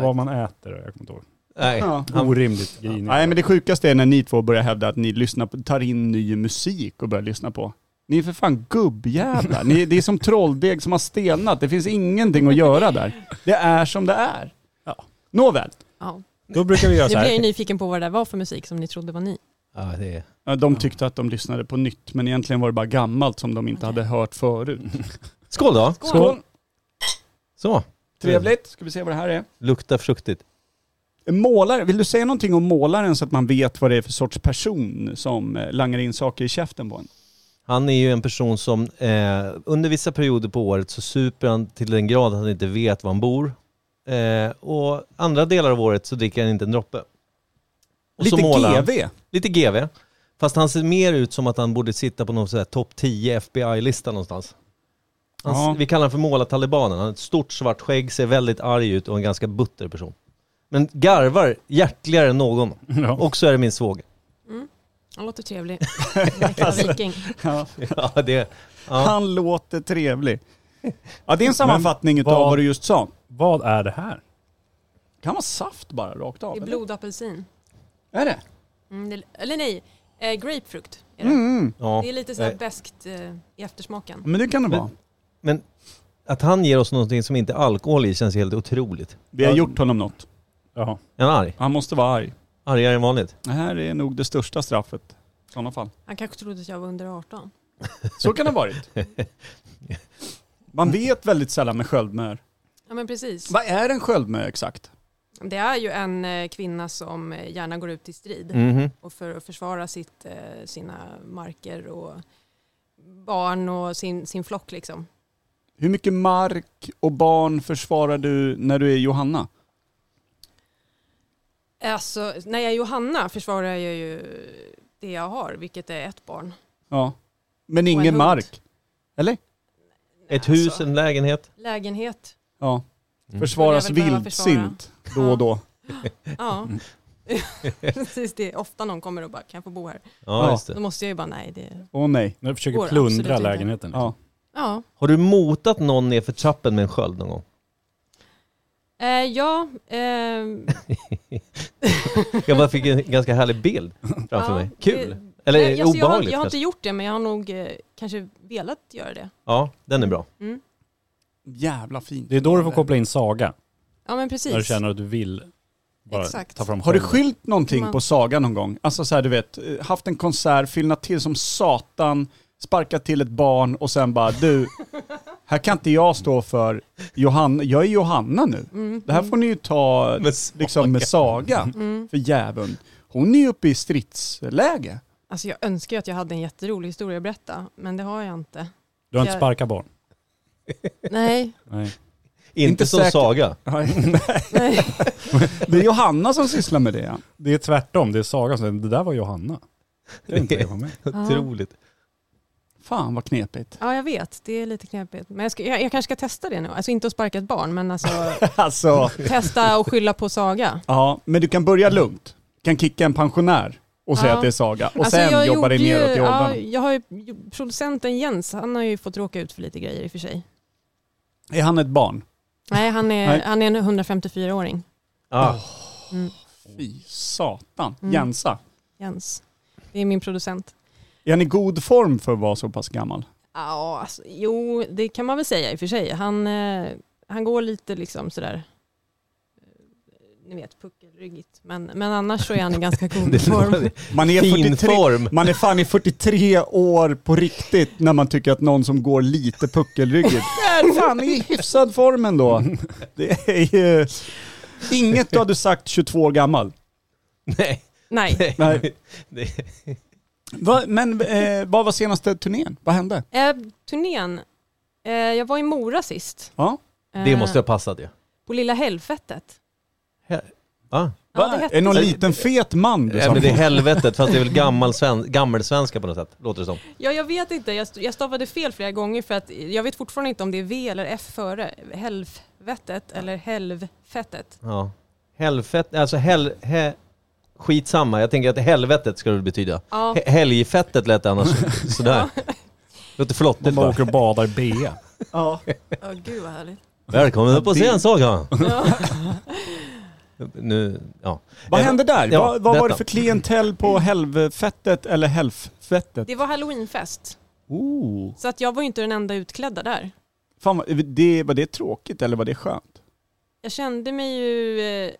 [SPEAKER 2] Vad man äter, jag kommer inte ihåg.
[SPEAKER 3] Nej.
[SPEAKER 1] Ja.
[SPEAKER 3] Han,
[SPEAKER 2] Orimligt grinig.
[SPEAKER 1] Nej men det sjukaste är när ni två börjar hävda att ni lyssnar på, tar in ny musik och börjar lyssna på. Ni är för fan gubbjävlar. Ni, det är som trolldeg som har stelnat. Det finns ingenting att göra där. Det är som det är.
[SPEAKER 2] Ja.
[SPEAKER 1] Nåväl,
[SPEAKER 5] Ja.
[SPEAKER 2] Då brukar vi
[SPEAKER 5] Nu
[SPEAKER 2] göra så
[SPEAKER 5] blir jag ju
[SPEAKER 2] här.
[SPEAKER 5] nyfiken på vad det där var för musik som ni trodde var ny.
[SPEAKER 3] ja, det är...
[SPEAKER 1] Ja, de tyckte att de lyssnade på nytt men egentligen var det bara gammalt som de inte
[SPEAKER 5] Okej.
[SPEAKER 1] hade hört förut.
[SPEAKER 3] Skål då!
[SPEAKER 5] Skål.
[SPEAKER 1] Skål!
[SPEAKER 3] Så,
[SPEAKER 1] Trevligt, ska vi se vad det här är.
[SPEAKER 3] luktar fruktigt.
[SPEAKER 1] Målare, vill du säga någonting om målaren så att man vet vad det är för sorts person som eh, langar in saker i käften på en?
[SPEAKER 3] Han är ju en person som eh, under vissa perioder på året så super han till den grad att han inte vet var han bor. Eh, och andra delar av året så dricker han inte en droppe. Och så
[SPEAKER 1] Lite
[SPEAKER 3] målar han.
[SPEAKER 1] GV.
[SPEAKER 3] Lite GV. Fast han ser mer ut som att han borde sitta på någon sån här topp 10 FBI-lista någonstans. Han,
[SPEAKER 1] Ja.
[SPEAKER 3] Vi kallar honom för målartalibanen. Han har ett stort svart skägg, ser väldigt arg ut och en ganska butter person. Men garvar hjärtligare än någon.
[SPEAKER 2] Ja.
[SPEAKER 3] Och så är det min svåger.
[SPEAKER 5] Han låter trevlig. En äkta Viking.
[SPEAKER 1] Ja.
[SPEAKER 3] Ja, det, ja.
[SPEAKER 1] Han låter trevlig. Ja, det är en sammanfattning utav
[SPEAKER 2] vad-
[SPEAKER 1] vad du just sa.
[SPEAKER 2] Vad är det här?
[SPEAKER 1] Kan vara saft bara rakt av?
[SPEAKER 5] Det är
[SPEAKER 1] eller?
[SPEAKER 5] blodapelsin.
[SPEAKER 1] Är det?
[SPEAKER 5] Mm, det, eller nej, eh, grapefrukt. Är det.
[SPEAKER 1] Mm.
[SPEAKER 3] ja. Mm.
[SPEAKER 5] det är lite så här
[SPEAKER 3] Nej.
[SPEAKER 5] beskt eh, i eftersmaken.
[SPEAKER 1] Men det kan det
[SPEAKER 3] Men-
[SPEAKER 1] vara.
[SPEAKER 3] Men att han ger oss någonting som inte är alkohol i känns helt otroligt.
[SPEAKER 1] Vi har
[SPEAKER 2] Ja.
[SPEAKER 1] gjort honom något.
[SPEAKER 2] Jaha.
[SPEAKER 3] Är han arg?
[SPEAKER 1] Han måste vara arg.
[SPEAKER 3] Argare än vanligt.
[SPEAKER 1] Det här är nog det största straffet. I sådana fall.
[SPEAKER 5] Han kanske trodde att jag var under 18.
[SPEAKER 1] Så kan det ha varit. Man vet väldigt sällan med sköldmör.
[SPEAKER 5] Ja men precis.
[SPEAKER 1] Vad är en sköldmö exakt?
[SPEAKER 5] Det är ju en eh, kvinna som eh, gärna går ut i strid
[SPEAKER 3] Mhm.
[SPEAKER 5] och för att försvara sitt, eh, sina marker och barn och sin, sin flock liksom.
[SPEAKER 1] Hur mycket mark och barn försvarar du när du är Johanna?
[SPEAKER 5] Alltså, när jag är Johanna försvarar jag ju det jag har, vilket är ett barn.
[SPEAKER 1] Ja. Men
[SPEAKER 5] en
[SPEAKER 1] ingen
[SPEAKER 5] hund.
[SPEAKER 1] mark. Eller?
[SPEAKER 3] Ett hus, en lägenhet.
[SPEAKER 5] Lägenhet.
[SPEAKER 1] Ja.
[SPEAKER 3] Mm.
[SPEAKER 1] Försvaras
[SPEAKER 5] Skulle jag väl behöva
[SPEAKER 1] vildsint då och då.
[SPEAKER 5] Ja. Precis, det är ofta någon kommer och bara, kan jag få bo här?
[SPEAKER 3] Ja,
[SPEAKER 1] Ja.
[SPEAKER 3] just
[SPEAKER 5] Då
[SPEAKER 3] det.
[SPEAKER 5] måste jag ju bara, nej det...
[SPEAKER 1] Åh nej.
[SPEAKER 2] Jag försöker
[SPEAKER 5] Går absolut
[SPEAKER 2] plundra
[SPEAKER 5] inte.
[SPEAKER 2] lägenheten.
[SPEAKER 1] Ja.
[SPEAKER 5] Ja.
[SPEAKER 3] Har du motat någon ner för trappen med en sköld någon gång?
[SPEAKER 5] Eh, ja, ehm,
[SPEAKER 3] Jag bara fick en ganska härlig bild framför
[SPEAKER 5] Ja,
[SPEAKER 3] mig.
[SPEAKER 5] det-
[SPEAKER 3] Kul! Eller
[SPEAKER 5] nej, alltså, jag, har,
[SPEAKER 3] obehagligt
[SPEAKER 5] jag har inte
[SPEAKER 3] kanske.
[SPEAKER 5] gjort det, men jag har nog eh, kanske velat göra det.
[SPEAKER 3] Ja, den är bra.
[SPEAKER 5] Mm.
[SPEAKER 1] Jävla fint.
[SPEAKER 2] Det är då du får koppla in Saga.
[SPEAKER 5] Ja, men
[SPEAKER 2] När du
[SPEAKER 5] precis.
[SPEAKER 2] känner att du vill bara
[SPEAKER 5] Exakt.
[SPEAKER 2] ta fram
[SPEAKER 1] Har du
[SPEAKER 2] skölden.
[SPEAKER 1] skilt någonting
[SPEAKER 5] Man-
[SPEAKER 1] på Saga någon gång? Alltså så här, du vet, eh, haft en konsert, fyllnat till som satan, sparkat till ett barn och sen bara du, här kan inte jag stå för Johanna, jag är Johanna nu.
[SPEAKER 5] Mm,
[SPEAKER 1] Det här får ni ju ta
[SPEAKER 2] Mm.
[SPEAKER 3] Men
[SPEAKER 1] liksom med Saga,
[SPEAKER 5] Mm.
[SPEAKER 1] för djävulen. Hon är ju uppe i stridsläge.
[SPEAKER 5] Alltså jag önskar ju att jag hade en jätterolig historia att berätta, men det har jag inte.
[SPEAKER 2] Du har inte
[SPEAKER 5] Jag-
[SPEAKER 2] sparkat barn?
[SPEAKER 5] Nej,
[SPEAKER 2] Nej.
[SPEAKER 3] Inte,
[SPEAKER 1] Inte
[SPEAKER 3] som
[SPEAKER 1] säkert.
[SPEAKER 3] Saga.
[SPEAKER 5] nej.
[SPEAKER 1] Det är Johanna som sysslar med det. ja.
[SPEAKER 2] Det är tvärtom, det är Saga som säger det där var Johanna. Det är inte det var mig.
[SPEAKER 3] Otroligt.
[SPEAKER 1] Fan vad knepigt.
[SPEAKER 5] Ja, jag vet. Det är lite knepigt. Men jag, ska, jag, jag kanske ska testa det nu. Alltså inte att sparka ett barn, men alltså
[SPEAKER 1] Alltså,
[SPEAKER 5] testa och skylla på Saga.
[SPEAKER 1] ja, men du kan börja lugnt. Kan kicka en pensionär och säga
[SPEAKER 5] Ja.
[SPEAKER 1] att det är Saga. Och
[SPEAKER 5] alltså,
[SPEAKER 1] sen jobbar
[SPEAKER 5] gjorde
[SPEAKER 1] det
[SPEAKER 5] ju-
[SPEAKER 1] neråt i åldrarna.
[SPEAKER 5] ja, Jag har ju producenten Jens, han har ju fått råka ut för lite grejer i och för sig.
[SPEAKER 1] Är han ett barn?
[SPEAKER 5] Nej, han är,
[SPEAKER 1] Nej.
[SPEAKER 5] Han är en 154-åring,
[SPEAKER 3] Ah,
[SPEAKER 1] Fy satan.
[SPEAKER 5] Mm.
[SPEAKER 1] Jensa.
[SPEAKER 5] Jens. Det är min producent.
[SPEAKER 1] Är han i god form för att vara så pass gammal?
[SPEAKER 5] Ja, alltså, jo, det kan man väl säga i och för sig. Han, eh, han går lite liksom sådär, eh, ni vet, puckelryggigt. Men, men annars så är han i ganska god
[SPEAKER 3] det
[SPEAKER 5] form.
[SPEAKER 3] var
[SPEAKER 1] Man är,
[SPEAKER 3] fin
[SPEAKER 1] 43,
[SPEAKER 3] form.
[SPEAKER 1] man är fan i 43 år på riktigt när man tycker att någon som går lite puckelryggigt är fan i hyfsad form ändå. Det är ju... Inget du hade sagt 22 år gammal.
[SPEAKER 3] Nej.
[SPEAKER 5] Nej.
[SPEAKER 1] Nej.
[SPEAKER 3] Det-
[SPEAKER 1] Va, men eh, vad var senaste turnén? Vad hände?
[SPEAKER 5] Eh, turnén. Eh, jag var i Mora sist.
[SPEAKER 1] Ja.
[SPEAKER 5] Eh,
[SPEAKER 3] Det måste ha passat ju.
[SPEAKER 5] På Lilla Helvetet.
[SPEAKER 3] Ah.
[SPEAKER 5] Ja,
[SPEAKER 1] Va?
[SPEAKER 5] det
[SPEAKER 1] är
[SPEAKER 5] hette
[SPEAKER 1] det någon
[SPEAKER 5] så.
[SPEAKER 1] liten fet man du
[SPEAKER 3] Ja,
[SPEAKER 1] sa?
[SPEAKER 3] men det är helvetet, fast det är väl gammal sven- gammelsvenska på något sätt, låter det som.
[SPEAKER 5] Ja, jag vet inte. Jag, st- jag stavade fel flera gånger för att jag vet fortfarande inte om det är V eller F före. Helvetet eller helvfettet.
[SPEAKER 3] Ja. Helfett, alltså hel... He, skitsamma, jag tänker att helvetet ska det betyda.
[SPEAKER 5] Ja.
[SPEAKER 3] He, helgfettet lät det annars sådär. Låter flottigt
[SPEAKER 2] Man bara
[SPEAKER 3] bara.
[SPEAKER 2] åker och badar i bea.
[SPEAKER 1] Ja.
[SPEAKER 5] Åh gud vad härligt.
[SPEAKER 3] Välkommen upp på
[SPEAKER 1] Det-
[SPEAKER 3] scen Saga!
[SPEAKER 5] Ja.
[SPEAKER 3] Nu, ja.
[SPEAKER 1] Vad hände där?
[SPEAKER 3] Ja,
[SPEAKER 1] vad vad var det
[SPEAKER 3] detta.
[SPEAKER 1] för klientell på helvfettet eller helfettet?
[SPEAKER 5] Det var halloweenfest.
[SPEAKER 1] Oh.
[SPEAKER 5] Så att jag var ju inte den enda utklädda där.
[SPEAKER 1] Fan, vad- det, var det tråkigt eller var det skönt?
[SPEAKER 5] Jag kände mig ju eh,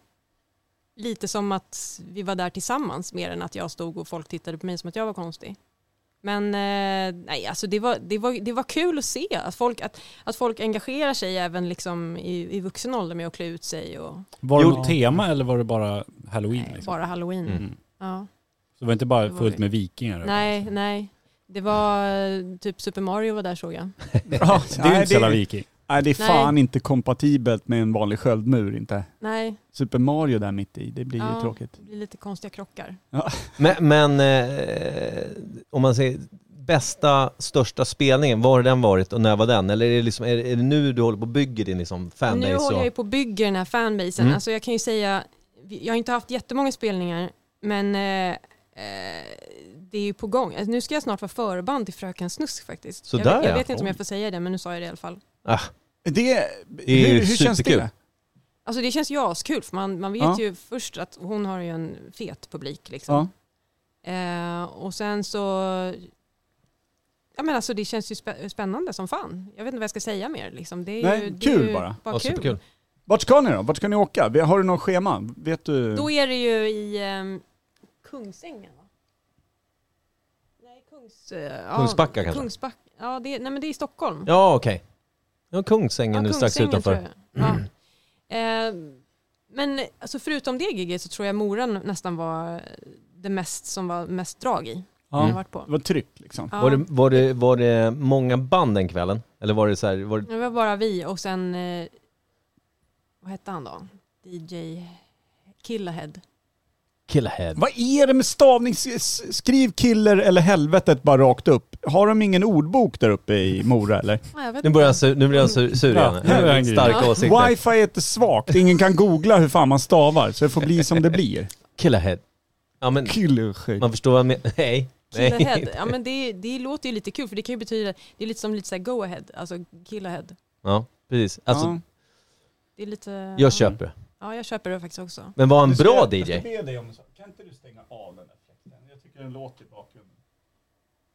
[SPEAKER 5] lite som att vi var där tillsammans mer än att jag stod och folk tittade på mig som att jag var konstig. Men eh, nej, alltså det, var, det, var, det var kul att se att folk, att, att folk engagerar sig även liksom i, i vuxen ålder med att klä ut sig och
[SPEAKER 2] Var det
[SPEAKER 1] Jo.
[SPEAKER 2] något tema eller var det bara halloween?
[SPEAKER 5] nej,
[SPEAKER 2] liksom?
[SPEAKER 5] bara halloween.
[SPEAKER 3] Mm.
[SPEAKER 5] Ja.
[SPEAKER 2] Så det var inte
[SPEAKER 5] Det
[SPEAKER 2] bara
[SPEAKER 5] var
[SPEAKER 2] fullt
[SPEAKER 5] det.
[SPEAKER 2] med vikingar?
[SPEAKER 5] Nej, nej. Det var eh, typ Super Mario var där såg jag.
[SPEAKER 1] Ja,
[SPEAKER 2] Det är ju inte sällan
[SPEAKER 1] det,
[SPEAKER 2] viking.
[SPEAKER 1] nej, det är
[SPEAKER 5] Nej.
[SPEAKER 1] fan inte kompatibelt med en vanlig sköldmur inte.
[SPEAKER 5] Nej,
[SPEAKER 1] Super Mario där mitt i, det blir ju
[SPEAKER 5] Ja.
[SPEAKER 1] tråkigt.
[SPEAKER 5] det blir lite konstiga krockar.
[SPEAKER 3] Men, men eh, om man säger bästa, största spelningen, var har den varit och när var den? Eller är det, liksom, är, är det nu du håller på och bygger din liksom fanbase?
[SPEAKER 5] Nu
[SPEAKER 3] och-
[SPEAKER 5] håller jag ju på och bygger den här fanbasen.
[SPEAKER 3] Mm.
[SPEAKER 5] Alltså jag kan ju säga, vi- jag har inte haft jättemånga spelningar, men eh, eh, det är ju på gång. Alltså, nu ska jag snart vara förband till Fröken Snusk faktiskt.
[SPEAKER 3] Så
[SPEAKER 5] jag,
[SPEAKER 3] där,
[SPEAKER 5] vet, jag
[SPEAKER 3] ja.
[SPEAKER 5] vet inte om jag
[SPEAKER 3] Oj.
[SPEAKER 5] får säga det, men nu sa jag det i alla fall.
[SPEAKER 3] ah,
[SPEAKER 1] Det,
[SPEAKER 3] är ju
[SPEAKER 1] hur, hur känns
[SPEAKER 3] superkul.
[SPEAKER 1] det?
[SPEAKER 5] Alltså det känns ju askul, för man, man vet
[SPEAKER 1] Ja.
[SPEAKER 5] ju först att hon har ju en fet publik.
[SPEAKER 1] Ja.
[SPEAKER 5] Liksom. Eh, och sen så, ja men alltså det känns ju spä- spännande som fan. Jag vet inte vad jag ska säga mer. Liksom. Det är
[SPEAKER 1] Nej,
[SPEAKER 5] ju, det
[SPEAKER 1] kul
[SPEAKER 5] är ju
[SPEAKER 1] bara.
[SPEAKER 3] ah, superkul.
[SPEAKER 1] Vart ska ni då? Vart ska ni åka? Vi- Har du något schema? Vet du?
[SPEAKER 5] Då är det ju i ehm, Kungsängen va? Nej, Kungs... eh, ja,
[SPEAKER 3] Kungsbacka kanske?
[SPEAKER 5] Kungsbacka. Ja, det, är- nej men det är i Stockholm.
[SPEAKER 3] Ja, okej. Ja, Kungsängen nu strax
[SPEAKER 5] Kungsängen
[SPEAKER 3] utanför.
[SPEAKER 5] tror jag. Ja. Eh, men alltså, förutom det giget så tror jag Mora n- nästan var det mest som var mest drag i.
[SPEAKER 1] Ja.
[SPEAKER 5] Jag har varit på.
[SPEAKER 1] Vad tryck liksom.
[SPEAKER 5] Ja.
[SPEAKER 3] Var, det, var, det, var det många band den kvällen? Eller var det så här, var det,
[SPEAKER 5] Det var bara vi och sen, eh, vad hette han då? DJ Killahead.
[SPEAKER 3] Killhead.
[SPEAKER 1] Vad är det med stavning? S- s- Skriv killer eller helvetet bara rakt upp. Har de ingen ordbok där uppe i Mora eller?
[SPEAKER 5] Ja, jag vet
[SPEAKER 3] Nu
[SPEAKER 5] inte.
[SPEAKER 3] börjar jag sur, nu blir jag sur, sur
[SPEAKER 2] Ja,
[SPEAKER 3] igen.
[SPEAKER 2] nu börjar han grina.
[SPEAKER 3] Starka
[SPEAKER 5] Ja.
[SPEAKER 3] åsikter.
[SPEAKER 1] Wifi är inte svagt. Ingen kan googla hur fan man stavar så det får bli som det blir.
[SPEAKER 3] Killhead. Ja men
[SPEAKER 1] Killerskydd.
[SPEAKER 3] man förstår vad jag menar. Nej.
[SPEAKER 5] Killerhead,
[SPEAKER 3] Nej.
[SPEAKER 5] ja men det, det låter ju lite kul för det kan ju betyda, det är lite som lite såhär go ahead, alltså killerhead.
[SPEAKER 3] Ja, precis. Alltså,
[SPEAKER 1] Ja.
[SPEAKER 5] Det är lite...
[SPEAKER 3] jag köper det.
[SPEAKER 5] Ja, jag köper det faktiskt också.
[SPEAKER 3] Men var en
[SPEAKER 1] Du ska-
[SPEAKER 3] bra
[SPEAKER 1] jag ska
[SPEAKER 3] DJ.
[SPEAKER 1] be dig om en sak. Kan inte du stänga av den där fläkten? Jag tycker den låter i bakgrunden.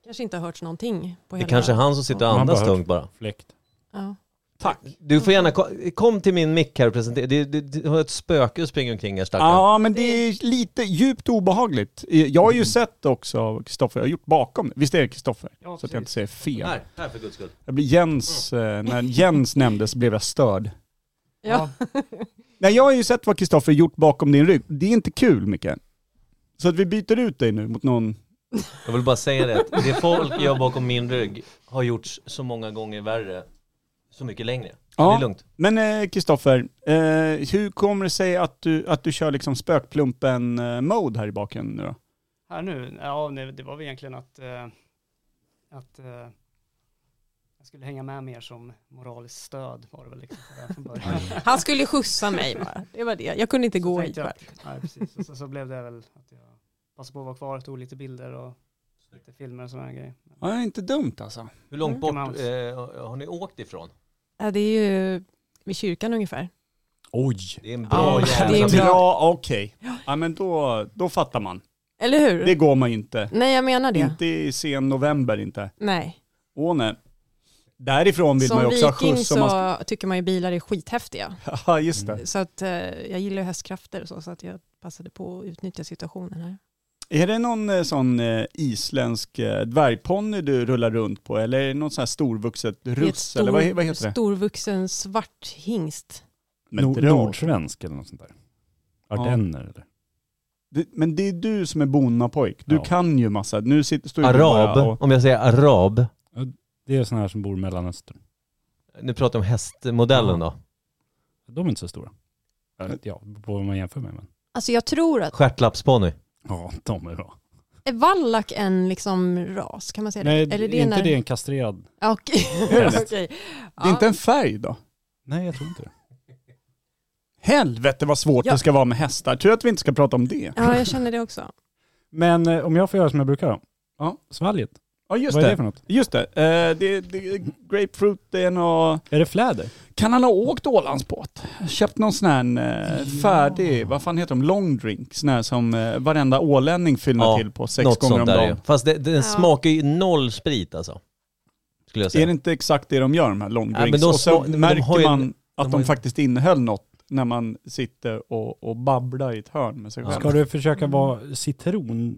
[SPEAKER 5] Kanske inte har hört någonting på
[SPEAKER 3] Det
[SPEAKER 5] hela...
[SPEAKER 3] kanske är han som sitter och
[SPEAKER 2] Ja, man
[SPEAKER 3] andas
[SPEAKER 2] bara hört.
[SPEAKER 3] tungt bara.
[SPEAKER 2] Fläkt.
[SPEAKER 5] Ja.
[SPEAKER 1] Tack.
[SPEAKER 3] Du får gärna, ko- kom till min mick här och presentera. Du, du, du har ett spöke och springer omkring här stackarn.
[SPEAKER 1] Ja, men det är lite djupt obehagligt. Jag
[SPEAKER 3] Mm.
[SPEAKER 1] har ju sett också Kristoffer, jag har gjort bakom. Visst är det Kristoffer? så att jag inte säger fel.
[SPEAKER 3] Här, här för guds skull.
[SPEAKER 1] Jag blir Jens, eh, när Jens nämndes blev jag störd.
[SPEAKER 5] Ja.
[SPEAKER 1] Nej, jag har ju sett vad Kristoffer gjort bakom din rygg. Det är inte kul, Micke. Så att vi byter ut dig nu mot någon...
[SPEAKER 3] Jag vill bara säga det, att det folk gör bakom min rygg har gjorts så många gånger värre, så mycket längre. Det är lugnt.
[SPEAKER 1] Men Kristoffer, eh, hur kommer det sig att du, att du kör liksom spökplumpen-mode här i baken nu då?
[SPEAKER 9] Här nu? Ja, nej, det var väl egentligen att, eh, att eh, jag skulle hänga med mer som moraliskt stöd var det väl liksom sådär från början.
[SPEAKER 5] Han skulle skjutsa mig bara. Det var det. Jag kunde inte
[SPEAKER 9] Så
[SPEAKER 5] gå hit
[SPEAKER 9] tänkte jag
[SPEAKER 5] bara.
[SPEAKER 9] att- Nej, precis. Och sen så blev det väl att jag passade på att vara kvar, tog lite bilder och lite filmer och sådana grejer.
[SPEAKER 1] Ja, det är inte dumt alltså.
[SPEAKER 3] Hur långt
[SPEAKER 5] Mm,
[SPEAKER 3] bort
[SPEAKER 9] Mickey Mouse.
[SPEAKER 3] eh, har ni åkt ifrån?
[SPEAKER 5] Ja, det är ju vid kyrkan ungefär.
[SPEAKER 2] Oj!
[SPEAKER 3] Det är en
[SPEAKER 5] Ja,
[SPEAKER 3] bra
[SPEAKER 5] det är en
[SPEAKER 3] jävla...
[SPEAKER 5] bra-
[SPEAKER 1] Ja, okej. Ja, men då, då fattar man.
[SPEAKER 5] Eller hur?
[SPEAKER 1] Det går man ju inte.
[SPEAKER 5] Nej, jag menar det.
[SPEAKER 1] Inte i sen november inte.
[SPEAKER 5] Nej.
[SPEAKER 1] Åh nej. Därifrån vill man
[SPEAKER 5] Som
[SPEAKER 1] ju också ha
[SPEAKER 5] viking
[SPEAKER 1] skjuts.
[SPEAKER 5] så
[SPEAKER 1] om Man...
[SPEAKER 5] tycker man ju bilar är skithäftiga.
[SPEAKER 1] Ja, just det.
[SPEAKER 5] Så att eh, jag gillar ju hästkrafter och så, så att jag passade på att utnyttja situationen här.
[SPEAKER 1] Är det någon eh, sån eh, isländsk eh, dvärgponny du rullar runt på eller är det någon sån här storvuxet
[SPEAKER 5] Det är ett
[SPEAKER 1] russ
[SPEAKER 5] stor-
[SPEAKER 1] eller vad, he- vad heter det?
[SPEAKER 5] Storvuxen svart hingst.
[SPEAKER 1] Men,
[SPEAKER 2] Nord-
[SPEAKER 1] dra-
[SPEAKER 2] Nordsvensk eller något sånt där. Ardenner eller?
[SPEAKER 1] Det- men det är du som är bonnapojk. Du
[SPEAKER 2] Ja.
[SPEAKER 1] kan ju massa. Nu sitter, står ju du bara
[SPEAKER 3] Arab,
[SPEAKER 1] och,
[SPEAKER 3] om jag säger arab.
[SPEAKER 2] Det är sådana här som bor i Mellanöstern.
[SPEAKER 3] Nu pratar jag om hästmodellen då.
[SPEAKER 2] De är inte så stora. Eller, Ja, det beror på vad man jämför med. Men.
[SPEAKER 5] Alltså jag tror att,
[SPEAKER 3] Stjärtlappsponny.
[SPEAKER 2] Ja, de är bra.
[SPEAKER 5] är vallack en liksom ras? Kan man säga det?
[SPEAKER 2] Nej,
[SPEAKER 5] Eller
[SPEAKER 2] är
[SPEAKER 5] det
[SPEAKER 2] inte
[SPEAKER 5] när-
[SPEAKER 2] det en kastrerad?
[SPEAKER 5] Ja, Okej.
[SPEAKER 1] Häst.
[SPEAKER 5] Okej.
[SPEAKER 1] Det är inte
[SPEAKER 5] Ja.
[SPEAKER 1] en färg då?
[SPEAKER 2] Nej, jag tror inte det.
[SPEAKER 1] Helvete vad svårt
[SPEAKER 5] Ja.
[SPEAKER 1] det ska vara med hästar. Tur att vi inte ska prata om det.
[SPEAKER 5] Ja, jag känner det också.
[SPEAKER 2] Men eh, om jag får göra som jag brukar då?
[SPEAKER 1] Ja.
[SPEAKER 2] Svalget.
[SPEAKER 1] Ja just
[SPEAKER 2] vad är det
[SPEAKER 1] det.
[SPEAKER 2] för något?
[SPEAKER 1] Just det. Eh, det, det. Grapefruit, det är något...
[SPEAKER 2] Är det fläder?
[SPEAKER 1] Kan han ha åkt Ålandsbåt? Köpt någon sån här eh, färdig, vad fan heter de, long drink? Sån här som eh, varenda ålänning fyller
[SPEAKER 3] Ja,
[SPEAKER 1] till på sex
[SPEAKER 3] Något
[SPEAKER 1] gånger
[SPEAKER 3] sånt
[SPEAKER 1] om
[SPEAKER 3] där ju.
[SPEAKER 1] dagen.
[SPEAKER 3] Fast det, den
[SPEAKER 5] Ja.
[SPEAKER 3] smakar ju noll sprit alltså. Skulle
[SPEAKER 1] Är
[SPEAKER 3] jag säga.
[SPEAKER 1] det inte exakt det de gör de här long
[SPEAKER 3] Ja,
[SPEAKER 1] drinks?
[SPEAKER 3] men de
[SPEAKER 1] och
[SPEAKER 3] sma-
[SPEAKER 1] så
[SPEAKER 3] men de har
[SPEAKER 1] märker
[SPEAKER 3] ju en-
[SPEAKER 1] man
[SPEAKER 3] har
[SPEAKER 1] att de
[SPEAKER 3] ju-
[SPEAKER 1] faktiskt innehöll något när man sitter och, och babblar i ett hörn med sig
[SPEAKER 3] Ja.
[SPEAKER 1] själv.
[SPEAKER 2] Ska du försöka
[SPEAKER 3] Mm.
[SPEAKER 2] vara citron?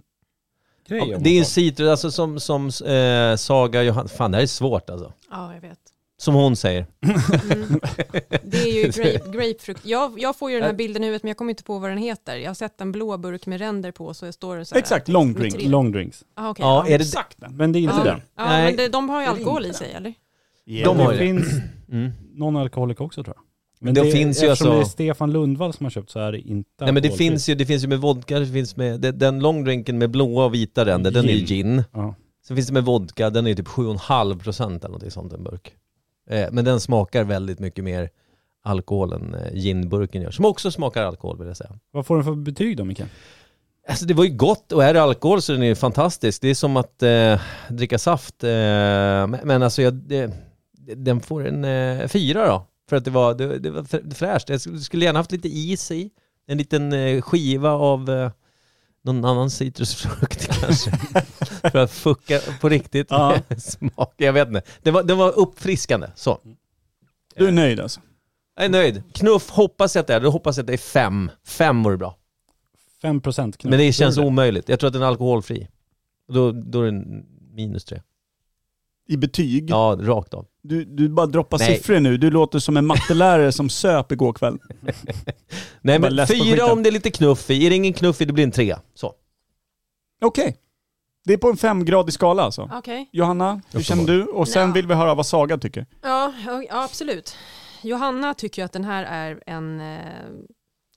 [SPEAKER 3] Ja, det är ju citrus, alltså som, som eh, Saga Johan... Fan det här är svårt alltså.
[SPEAKER 5] Ja, jag vet.
[SPEAKER 3] Som hon säger.
[SPEAKER 5] Mm. Det är ju grape, grapefrukt. Jag, jag får ju den här bilden i huvudet men jag kommer inte på vad den heter. Jag har sett en blå burk med ränder på så jag står det så här.
[SPEAKER 1] Exakt, long
[SPEAKER 5] Med
[SPEAKER 1] drink.
[SPEAKER 5] tre-
[SPEAKER 2] Long drinks.
[SPEAKER 5] Ah, okej.
[SPEAKER 3] Ja, är det...
[SPEAKER 1] Exakt den.
[SPEAKER 2] Men det är inte
[SPEAKER 5] Ja.
[SPEAKER 2] den.
[SPEAKER 5] Ja,
[SPEAKER 3] Nej.
[SPEAKER 5] men det, de har ju alkohol i sig eller?
[SPEAKER 3] De har
[SPEAKER 2] det
[SPEAKER 3] ju det.
[SPEAKER 2] finns
[SPEAKER 3] Mm.
[SPEAKER 2] någon alkoholik också tror jag.
[SPEAKER 3] Men det finns ju
[SPEAKER 2] eftersom
[SPEAKER 3] alltså-
[SPEAKER 2] det är Stefan Lundvall som har köpt så är det inte
[SPEAKER 3] Nej men det
[SPEAKER 2] alkoholfritt.
[SPEAKER 3] finns, ju, det finns ju med vodka, det finns med... Det, den longdrinken med blåa och vita ränder, den är ju
[SPEAKER 2] Gin.
[SPEAKER 3] gin.
[SPEAKER 2] Ja.
[SPEAKER 3] Sen finns det med vodka, den är ju typ 7,5% eller någonting sånt en burk. Eh, men den smakar väldigt mycket mer alkohol än eh, ginburken gör. Som också smakar alkohol vill jag säga.
[SPEAKER 2] Vad får den för betyg då Micke?
[SPEAKER 3] Alltså det var ju gott och är det alkohol så är den ju fantastisk. Det är som att eh, dricka saft. Eh, men, men alltså jag, det, den får en eh, fyra då. För att det var, det, det var frä- fräscht. Jag skulle skulle gärna haft lite is i. En liten eh, skiva av eh, någon annan citrusfrukt kanske. för att fucka på riktigt
[SPEAKER 1] Ja.
[SPEAKER 3] med smak. Jag vet inte. Det var, det var uppfriskande. Så.
[SPEAKER 1] Du är nöjd alltså?
[SPEAKER 3] Jag är nöjd. Knuff hoppas jag att det är. Då hoppas jag att det är fem. Fem vore bra.
[SPEAKER 2] 5% knuff.
[SPEAKER 3] Men det känns
[SPEAKER 2] Tror du
[SPEAKER 3] omöjligt. Jag tror att den är alkoholfri. Då, då är den minus tre.
[SPEAKER 1] I betyg?
[SPEAKER 3] Ja, rakt av.
[SPEAKER 1] Du, du bara droppar
[SPEAKER 3] Nej.
[SPEAKER 1] siffror nu. Du låter som en mattelärare som söp igår kväll.
[SPEAKER 3] Nej
[SPEAKER 1] Bara
[SPEAKER 3] men
[SPEAKER 1] läs på
[SPEAKER 3] fyra
[SPEAKER 1] skiten.
[SPEAKER 3] om det är lite knuff i. Är det ingen knuff i, det blir en trea. Så.
[SPEAKER 1] Okej. Det är på en femgradig skala alltså?
[SPEAKER 5] Okej.
[SPEAKER 1] Johanna, hur känner du? Och sen
[SPEAKER 5] Ja.
[SPEAKER 1] vill vi höra vad Saga tycker.
[SPEAKER 5] Ja, ja, ja, absolut. Johanna tycker ju att den här är en eh,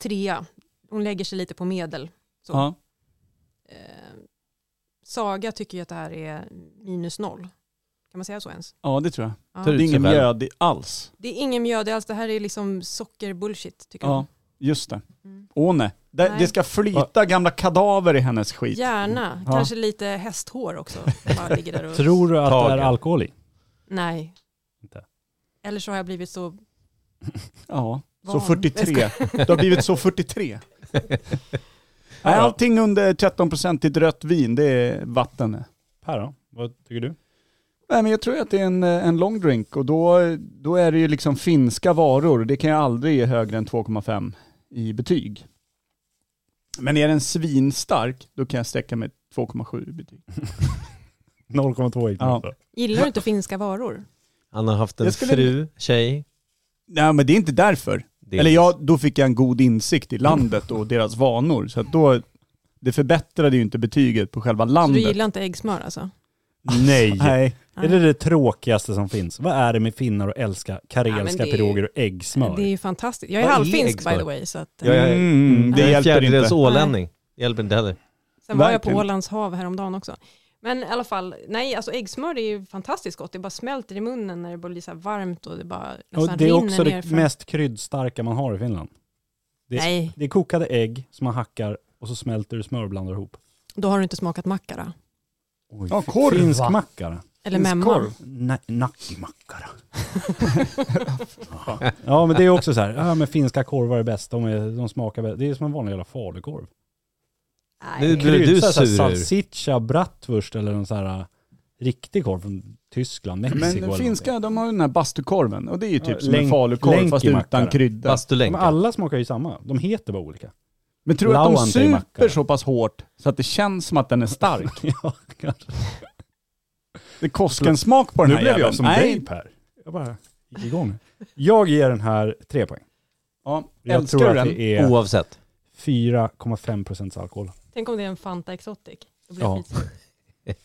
[SPEAKER 5] trea. Hon lägger sig lite på medel. Så.
[SPEAKER 1] Ja.
[SPEAKER 5] Eh, Saga tycker ju att det här är minus noll. Kan man säga så ens?
[SPEAKER 1] ja, det tror jag.
[SPEAKER 5] Ja.
[SPEAKER 1] Det är ingen
[SPEAKER 3] väl.
[SPEAKER 1] mjöd i- alls.
[SPEAKER 5] Det är ingen mjöd alls, det här är liksom sockerbullshit tycker
[SPEAKER 1] Ja, just det.
[SPEAKER 5] de. Mm.
[SPEAKER 1] Åh nej. Det,
[SPEAKER 5] Nej.
[SPEAKER 1] det ska flyta gamla kadaver i hennes skit.
[SPEAKER 5] Gärna,
[SPEAKER 1] Ja.
[SPEAKER 5] kanske lite hästhår också. Bara ligger där och...
[SPEAKER 2] Tror du att det är
[SPEAKER 3] Tagen.
[SPEAKER 2] alkohol i?
[SPEAKER 5] Nej.
[SPEAKER 2] Inte.
[SPEAKER 5] Eller så har jag blivit så...
[SPEAKER 1] Ja, så
[SPEAKER 5] Van.
[SPEAKER 1] 43. Du har blivit så 43. Nej, allting under 13% i rött vin, det är vatten.
[SPEAKER 2] Per då? Vad tycker du?
[SPEAKER 1] Nej, men jag tror att det är en, eh, en long drink och då, då är det ju liksom finska varor. Det kan jag aldrig ge högre än 2,5 i betyg. Men är den svinstark, då kan jag sträcka mig 2,7 i betyg.
[SPEAKER 2] 0,2 gick det
[SPEAKER 1] Ja.
[SPEAKER 2] för.
[SPEAKER 5] Gillar du inte finska varor?
[SPEAKER 3] Han har haft en
[SPEAKER 1] Jag skulle-
[SPEAKER 3] fru, tjej.
[SPEAKER 1] Nej, men det är inte därför.
[SPEAKER 3] Det-
[SPEAKER 1] Eller ja, då fick jag en god insikt i landet och deras vanor. Så att då, det förbättrade ju inte betyget på själva
[SPEAKER 5] Så du
[SPEAKER 1] landet.
[SPEAKER 5] gillar inte äggsmör alltså?
[SPEAKER 2] Nej.
[SPEAKER 1] Nej.
[SPEAKER 2] Är det det tråkigaste som finns? Vad är det med finnar och älska
[SPEAKER 5] Ja,
[SPEAKER 2] karelska
[SPEAKER 5] men det är-
[SPEAKER 2] piroger och äggsmör?
[SPEAKER 5] Det är ju fantastiskt. Jag är
[SPEAKER 3] Vad är
[SPEAKER 5] halvfinsk by
[SPEAKER 3] äggsmör?
[SPEAKER 5] the way, så att,
[SPEAKER 3] Ja, ja.
[SPEAKER 1] Mm, det
[SPEAKER 3] en
[SPEAKER 1] hjälper
[SPEAKER 3] fjärdedels
[SPEAKER 1] inte.
[SPEAKER 3] ålänning. Hjälper inte heller.
[SPEAKER 5] sen var jag på
[SPEAKER 1] verkligen.
[SPEAKER 5] Ålands hav häromdagen också. Men i alla fall, nej alltså äggsmör det är ju fantastiskt gott. Det bara smälter i munnen när det blir så här varmt och det bara nästan
[SPEAKER 2] och det är
[SPEAKER 5] rinner
[SPEAKER 2] också
[SPEAKER 5] ner
[SPEAKER 2] det
[SPEAKER 5] från...
[SPEAKER 2] mest kryddstarka man har i Finland. Det är,
[SPEAKER 5] Nej,
[SPEAKER 2] det är kokade ägg som man hackar och så smälter du smör och blandar ihop.
[SPEAKER 5] då har du inte smakat mackara.
[SPEAKER 2] Oj,
[SPEAKER 1] Ja,
[SPEAKER 2] fi-
[SPEAKER 1] korv, va?
[SPEAKER 2] Finsk mackara.
[SPEAKER 5] Eller
[SPEAKER 1] Finsk
[SPEAKER 5] memma.
[SPEAKER 1] korv.
[SPEAKER 2] Na- Nackimackara. ja men det är också så här, ja men finska korvar är bäst, de, är, de smakar bäst. Det är som en vanlig jävla falukorv.
[SPEAKER 3] Nu
[SPEAKER 5] Nej.
[SPEAKER 3] blir du
[SPEAKER 2] Kryddsar så här
[SPEAKER 3] sur.
[SPEAKER 2] Salsiccia, bratwurst eller någon så här äh, riktig korv från Tyskland, Mexiko eller
[SPEAKER 1] Men
[SPEAKER 2] någonting.
[SPEAKER 1] finska, de har ju den här bastukorven och det är ju typ
[SPEAKER 2] Ja,
[SPEAKER 1] som en
[SPEAKER 2] länk-
[SPEAKER 1] falukorv fast
[SPEAKER 2] länkimacka
[SPEAKER 1] utan
[SPEAKER 2] då.
[SPEAKER 1] kryddor.
[SPEAKER 2] Men
[SPEAKER 3] Bastulänka.
[SPEAKER 2] alla smakar ju samma, de heter bara olika.
[SPEAKER 1] Men tror du att de
[SPEAKER 2] Lauantaimacka
[SPEAKER 1] super
[SPEAKER 2] då.
[SPEAKER 1] så pass hårt så att det känns som att den är stark?
[SPEAKER 2] ja, kanske.
[SPEAKER 1] Det är Kosken-smak på den
[SPEAKER 2] Nu
[SPEAKER 1] här
[SPEAKER 2] blev jag
[SPEAKER 1] jäveln.
[SPEAKER 2] som
[SPEAKER 1] Nej.
[SPEAKER 2] dig Per. Jag bara gick igång. Jag ger den här tre poäng.
[SPEAKER 1] Ja,
[SPEAKER 2] Jag
[SPEAKER 1] älskar
[SPEAKER 2] tror
[SPEAKER 1] du
[SPEAKER 2] att
[SPEAKER 1] den?
[SPEAKER 2] det är
[SPEAKER 3] Oavsett.
[SPEAKER 2] 4,5 procents alkohol.
[SPEAKER 5] Tänk om det är en Fanta Exotic. Då blir jag
[SPEAKER 2] Ja.
[SPEAKER 5] skitsur.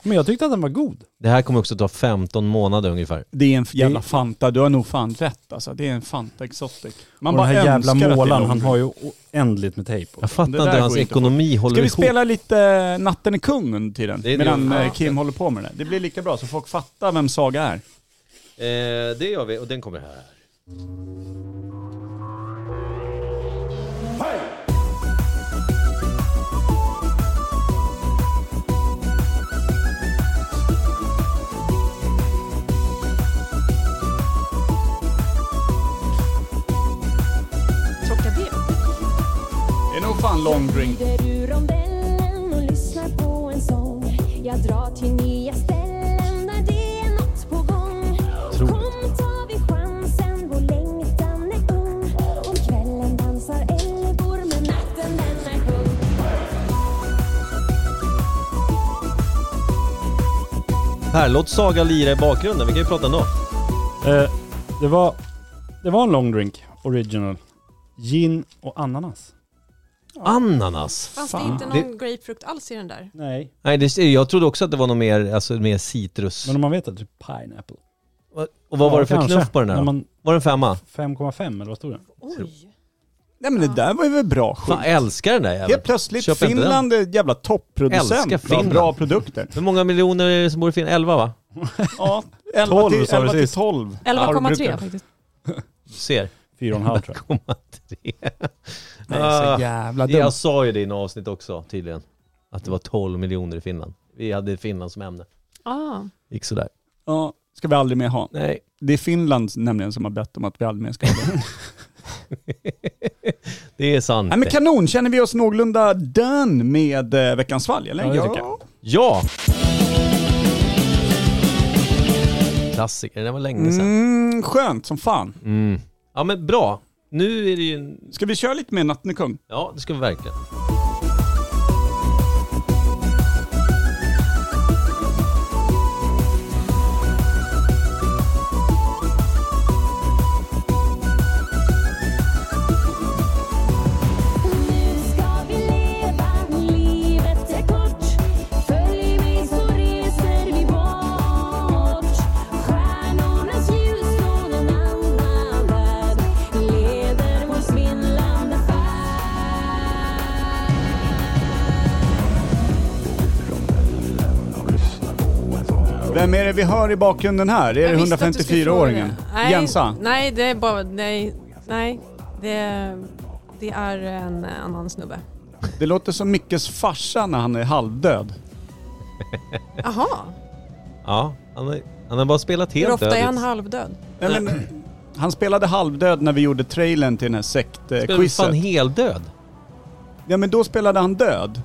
[SPEAKER 2] Men jag tyckte att den var god.
[SPEAKER 3] Det här kommer också ta 15 månader ungefär.
[SPEAKER 1] Det är en jävla Fanta, du har nog fan rätt alltså. Det är en Fanta Exotic. Man
[SPEAKER 2] och den här jävla
[SPEAKER 1] önskar att det är
[SPEAKER 2] målan,
[SPEAKER 1] någon-
[SPEAKER 2] han har ju oändligt med tejp på.
[SPEAKER 3] Jag fattar
[SPEAKER 1] Det där
[SPEAKER 3] inte hur hans
[SPEAKER 1] går inte
[SPEAKER 3] ekonomi håller
[SPEAKER 1] Ska vi
[SPEAKER 3] ihop.
[SPEAKER 1] spela lite Natten är kung under tiden?
[SPEAKER 3] Det är det
[SPEAKER 1] medan
[SPEAKER 3] jag-
[SPEAKER 1] eh, Kim håller på med det. Det blir lika bra så folk fattar vem Saga är.
[SPEAKER 3] Eh, det gör vi och den kommer här.
[SPEAKER 5] Tjocka ben.
[SPEAKER 1] Det är nog fan long drink.
[SPEAKER 4] Rider ur rondellen och lyssnar på en sång. Jag drar till nya ställen när det är något på gång. Kom tar vi chansen, vår längtan är ung. Om kvällen dansar älvor, men natten den är kung.
[SPEAKER 3] Per, låt Saga lira i bakgrunden. Vi kan ju prata ändå.
[SPEAKER 2] Eh, det, var, det var en long drink, original. Gin och ananas.
[SPEAKER 3] Ananas.
[SPEAKER 5] Fanns
[SPEAKER 1] Fan.
[SPEAKER 5] det inte någon grapefrukt alls i den där?
[SPEAKER 2] Nej.
[SPEAKER 3] Nej, det, jag trodde också att det var något mer, alltså, mer citrus.
[SPEAKER 2] Men om man vet att det är pineapple.
[SPEAKER 3] och vad var det för
[SPEAKER 2] kanske.
[SPEAKER 3] knuff på den här?
[SPEAKER 2] När
[SPEAKER 3] då?
[SPEAKER 2] man-
[SPEAKER 3] Var det en femma?
[SPEAKER 2] 5,5 eller vad stod det?
[SPEAKER 5] Oj.
[SPEAKER 1] Nej men det där var ju väl bra skit.
[SPEAKER 3] Fan, jag älskar den där jäveln.
[SPEAKER 1] Helt plötsligt,
[SPEAKER 3] Köp inte den.
[SPEAKER 1] Finland är ett jävla
[SPEAKER 3] Älskar
[SPEAKER 1] topproducent av
[SPEAKER 3] Finland.
[SPEAKER 1] bra produkter.
[SPEAKER 3] Hur många miljoner är det som bor i Finland? 11 va?
[SPEAKER 1] Ja, 11
[SPEAKER 2] Tolv,
[SPEAKER 1] till,
[SPEAKER 2] sa du
[SPEAKER 1] 11 till
[SPEAKER 2] sist.
[SPEAKER 1] 12. har du
[SPEAKER 5] 11,3
[SPEAKER 1] brukat.
[SPEAKER 5] faktiskt.
[SPEAKER 3] Du ser.
[SPEAKER 2] 4,5 tror jag.
[SPEAKER 3] 11,3.
[SPEAKER 1] Nej, så jävla
[SPEAKER 3] Det
[SPEAKER 1] dumt.
[SPEAKER 3] Ah, jag sa ju det i något avsnitt också tydligen. Att det var 12 miljoner i Finland. Vi hade Finland som ämne.
[SPEAKER 5] Ah.
[SPEAKER 3] Gick sådär.
[SPEAKER 1] Ja, ska vi aldrig mer ha.
[SPEAKER 3] Nej.
[SPEAKER 1] Det är Finland nämligen som har bett om att vi aldrig mer ska ha det.
[SPEAKER 3] Det är sant.
[SPEAKER 1] Nej men kanon, känner vi oss någorlunda done med eh, veckans svalg eller?
[SPEAKER 2] Ja, det tycker jag.
[SPEAKER 3] Ja! Klassiker, det var länge sedan.
[SPEAKER 1] Mm, skönt som fan.
[SPEAKER 3] Mm. Ja men bra. Nu är det ju... en-
[SPEAKER 1] Ska vi köra lite mer Natten är kung?
[SPEAKER 3] Ja, det ska vi verkligen.
[SPEAKER 4] Nu ska vi leva, livet är kort. Följ mig så reser vi bort. Stjärnornas ljus från en annan värld leder vår svindlande färd.
[SPEAKER 1] Vem är det vi hör i bakgrunden här? Är
[SPEAKER 5] Jag
[SPEAKER 1] det
[SPEAKER 5] visste att du skulle fråga
[SPEAKER 1] 154-åringen?
[SPEAKER 5] det. Nej,
[SPEAKER 1] Jensa?
[SPEAKER 5] Nej, det är bara, nej, nej. Det, det är en annan snubbe.
[SPEAKER 1] Det låter som Mickes farsa när han är halvdöd.
[SPEAKER 5] Jaha,
[SPEAKER 3] Ja, han har, han har bara spelat
[SPEAKER 5] hur
[SPEAKER 3] helt
[SPEAKER 5] ofta är
[SPEAKER 3] dödligt.
[SPEAKER 5] han halvdöd?
[SPEAKER 1] Nej, men, han spelade halvdöd när vi gjorde trailern till den här
[SPEAKER 3] Spelar fan
[SPEAKER 1] sektquizet.
[SPEAKER 3] heldöd?
[SPEAKER 1] Ja men då spelade han död.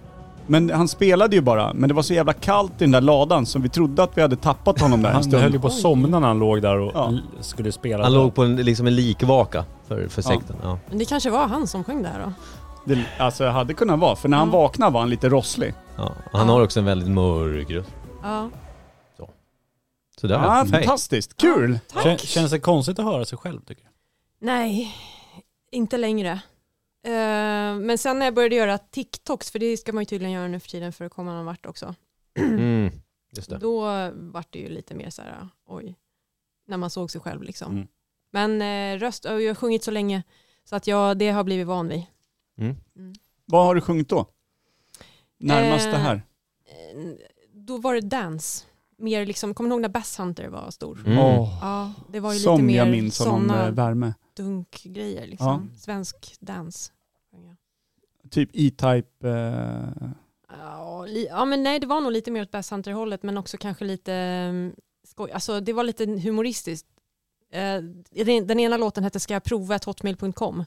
[SPEAKER 1] Men han spelade ju bara, men det var så jävla kallt i den där ladan som vi trodde att vi hade tappat honom där en
[SPEAKER 2] Han höll ju
[SPEAKER 1] stund.
[SPEAKER 2] på att somna när han låg där och
[SPEAKER 1] Ja.
[SPEAKER 2] l- skulle spela.
[SPEAKER 3] Han låg på en, liksom en likvaka för, för
[SPEAKER 1] Ja.
[SPEAKER 3] sekten. Ja.
[SPEAKER 5] Men Det kanske var han som sjöng det här då?
[SPEAKER 1] Det, alltså det hade kunnat vara, för när han
[SPEAKER 5] Mm.
[SPEAKER 1] vaknade var han lite rosslig.
[SPEAKER 3] Ja. Han
[SPEAKER 5] Ja.
[SPEAKER 3] har också en väldigt mörk röst.
[SPEAKER 5] Ja.
[SPEAKER 3] Sådär.
[SPEAKER 1] Ja,
[SPEAKER 3] Hej.
[SPEAKER 1] fantastiskt, kul!
[SPEAKER 5] Tack!
[SPEAKER 2] Kän, känns det konstigt att höra sig själv tycker jag?
[SPEAKER 5] Nej, inte längre. Eh, men sen när jag började göra TikToks, för det ska man ju tydligen göra nu för tiden för att komma någon vart också,
[SPEAKER 3] Mm. Just det.
[SPEAKER 5] då vart det ju lite mer så här, oj, när man såg sig själv liksom.
[SPEAKER 2] Mm.
[SPEAKER 5] Men eh, röst, jag har ju sjungit så länge så att jag, det har blivit van vid.
[SPEAKER 3] Mm.
[SPEAKER 1] Vad har du sjungit då? Närmast
[SPEAKER 5] Eh,
[SPEAKER 1] det här?
[SPEAKER 5] Eh, då var det dance, mer liksom, kommer ni ihåg när Bass Hunter var stor?
[SPEAKER 3] Mm.
[SPEAKER 1] Åh,
[SPEAKER 5] Ja, det var ju lite
[SPEAKER 1] som eh,
[SPEAKER 5] mer
[SPEAKER 1] jag minns honom
[SPEAKER 5] såna
[SPEAKER 1] med värme.
[SPEAKER 5] dunkgrejer liksom. Svensk dans.
[SPEAKER 1] Typ E-Type. Eh,
[SPEAKER 5] Ja, li- ja, men nej, det var nog lite mer åt Bass Hunter-hållet, men också kanske lite mm, skoj. Alltså, det var lite humoristiskt. Eh, den, den ena låten hette Ska jag prova ett hotmail.com.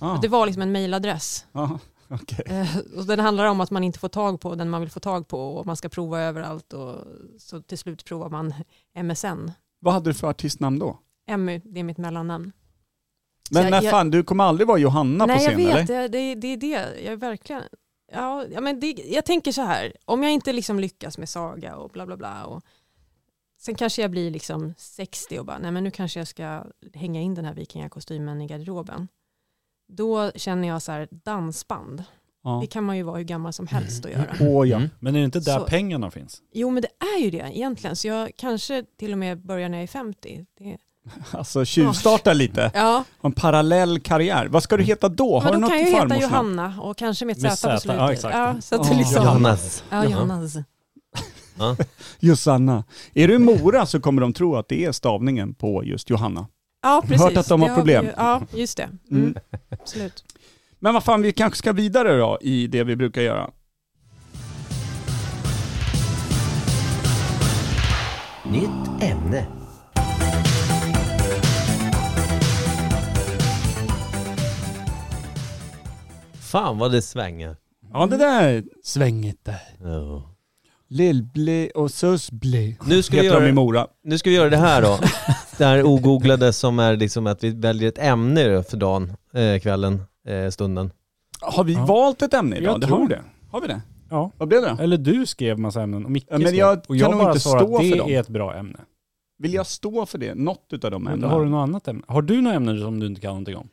[SPEAKER 1] ah,
[SPEAKER 5] Det var liksom en mailadress.
[SPEAKER 1] ah, okej.
[SPEAKER 5] Eh, och den handlar om att man inte får tag på den man vill få tag på och man ska prova överallt och så till slut provar man MSN.
[SPEAKER 1] Vad hade du för artistnamn då?
[SPEAKER 5] Emmy, det är mitt mellannamn.
[SPEAKER 1] Men
[SPEAKER 5] jag-
[SPEAKER 1] när
[SPEAKER 5] jag-
[SPEAKER 1] fan, du kommer aldrig vara Johanna på
[SPEAKER 5] Nej,
[SPEAKER 1] scen
[SPEAKER 5] jag
[SPEAKER 1] eller?
[SPEAKER 5] vet. Det, det, det är det. Jag är verkligen... Ja, ja, men det, jag tänker så här. Om jag inte liksom lyckas med Saga och bla bla bla. Och, sen kanske jag blir liksom 60 och bara, nej men nu kanske jag ska hänga in den här vikingakostymen i garderoben. Då känner jag så här, dansband.
[SPEAKER 1] Ja.
[SPEAKER 5] Det kan man ju vara hur gammal som helst att göra.
[SPEAKER 1] Åh ja.
[SPEAKER 3] Mm.
[SPEAKER 2] Men är det inte där
[SPEAKER 5] Så-
[SPEAKER 2] pengarna finns?
[SPEAKER 5] Jo, men det är ju det egentligen. Så jag kanske till och med börjar när jag är 50. Det,
[SPEAKER 1] Alltså tjuvstarta lite.
[SPEAKER 5] ja,
[SPEAKER 1] Ha En parallell karriär. Vad ska du heta då? Har du
[SPEAKER 5] men då
[SPEAKER 1] något
[SPEAKER 5] kan jag ju heta
[SPEAKER 1] farmors namn?
[SPEAKER 5] Johanna och kanske med ett
[SPEAKER 2] Med
[SPEAKER 5] Z på
[SPEAKER 2] Z,
[SPEAKER 5] slutet.
[SPEAKER 2] ja, exakt.
[SPEAKER 5] så att det
[SPEAKER 1] Åh.
[SPEAKER 5] liksom,
[SPEAKER 3] Johannes.
[SPEAKER 5] Ja, Johannas.
[SPEAKER 1] Josanna. Är du i Mora så kommer de tro att det är stavningen på just Johanna.
[SPEAKER 5] Ja, precis.
[SPEAKER 1] Hört att de har
[SPEAKER 5] Det
[SPEAKER 1] problem.
[SPEAKER 5] vi ju- ja, just det. Mm.
[SPEAKER 1] Mm.
[SPEAKER 5] Absolut.
[SPEAKER 1] Men vad fan, vi kanske ska vidare då i det vi brukar göra.
[SPEAKER 8] Nytt ämne.
[SPEAKER 3] Fan vad det svänger.
[SPEAKER 1] Ja, det där svänget där.
[SPEAKER 3] Ja.
[SPEAKER 1] Lillbli och susbli.
[SPEAKER 3] Nu ska, vi
[SPEAKER 1] Heter de i
[SPEAKER 3] göra,
[SPEAKER 1] Mora.
[SPEAKER 3] nu ska vi göra det här då. Det här ogooglade som är liksom att vi väljer ett ämne för dagen, eh, kvällen, eh, stunden.
[SPEAKER 1] Har vi
[SPEAKER 2] Ja.
[SPEAKER 1] valt ett ämne idag?
[SPEAKER 2] Jag
[SPEAKER 1] det
[SPEAKER 2] tror
[SPEAKER 1] har vi det. Har vi det?
[SPEAKER 2] Ja.
[SPEAKER 1] Vad blev det?
[SPEAKER 2] Eller du skrev massa ämnen och Micke
[SPEAKER 1] Ja, men
[SPEAKER 2] skrev.
[SPEAKER 1] jag
[SPEAKER 2] och
[SPEAKER 1] kan nog inte
[SPEAKER 2] svarar
[SPEAKER 1] stå
[SPEAKER 2] att det
[SPEAKER 1] för dem.
[SPEAKER 2] är ett bra ämne.
[SPEAKER 1] Vill jag stå för det? Något utav de
[SPEAKER 2] Men då har du
[SPEAKER 1] ämnena?
[SPEAKER 2] något annat ämne? Har du några ämnen som du inte kan någonting om? du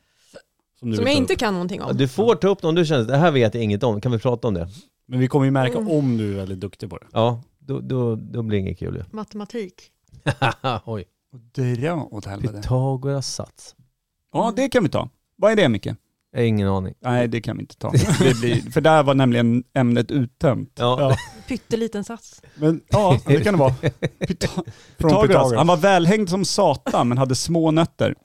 [SPEAKER 5] Som
[SPEAKER 2] vill
[SPEAKER 5] jag
[SPEAKER 2] ta
[SPEAKER 5] inte
[SPEAKER 2] upp?
[SPEAKER 5] kan någonting om.
[SPEAKER 3] Du får ta upp någon du känner, det här vet jag inget om, kan vi prata om det?
[SPEAKER 2] Men vi kommer ju märka
[SPEAKER 5] Mm.
[SPEAKER 2] om du är väldigt duktig på det.
[SPEAKER 3] Ja, då, då, då blir det inget kul ju.
[SPEAKER 5] Matematik.
[SPEAKER 3] Oj.
[SPEAKER 1] Dra åt helvete.
[SPEAKER 3] Pythagoras sats.
[SPEAKER 1] Ja, det kan vi ta. Vad är det Micke?
[SPEAKER 3] Jag har ingen aning.
[SPEAKER 1] Nej, det kan vi inte ta. Det blir, för där var nämligen ämnet uttömt.
[SPEAKER 3] Ja.
[SPEAKER 5] Pytteliten sats.
[SPEAKER 1] Men ja, det kan det vara. Pytha- Pythagoras.
[SPEAKER 2] Pythagoras.
[SPEAKER 1] Han var välhängd som satan men hade små nötter.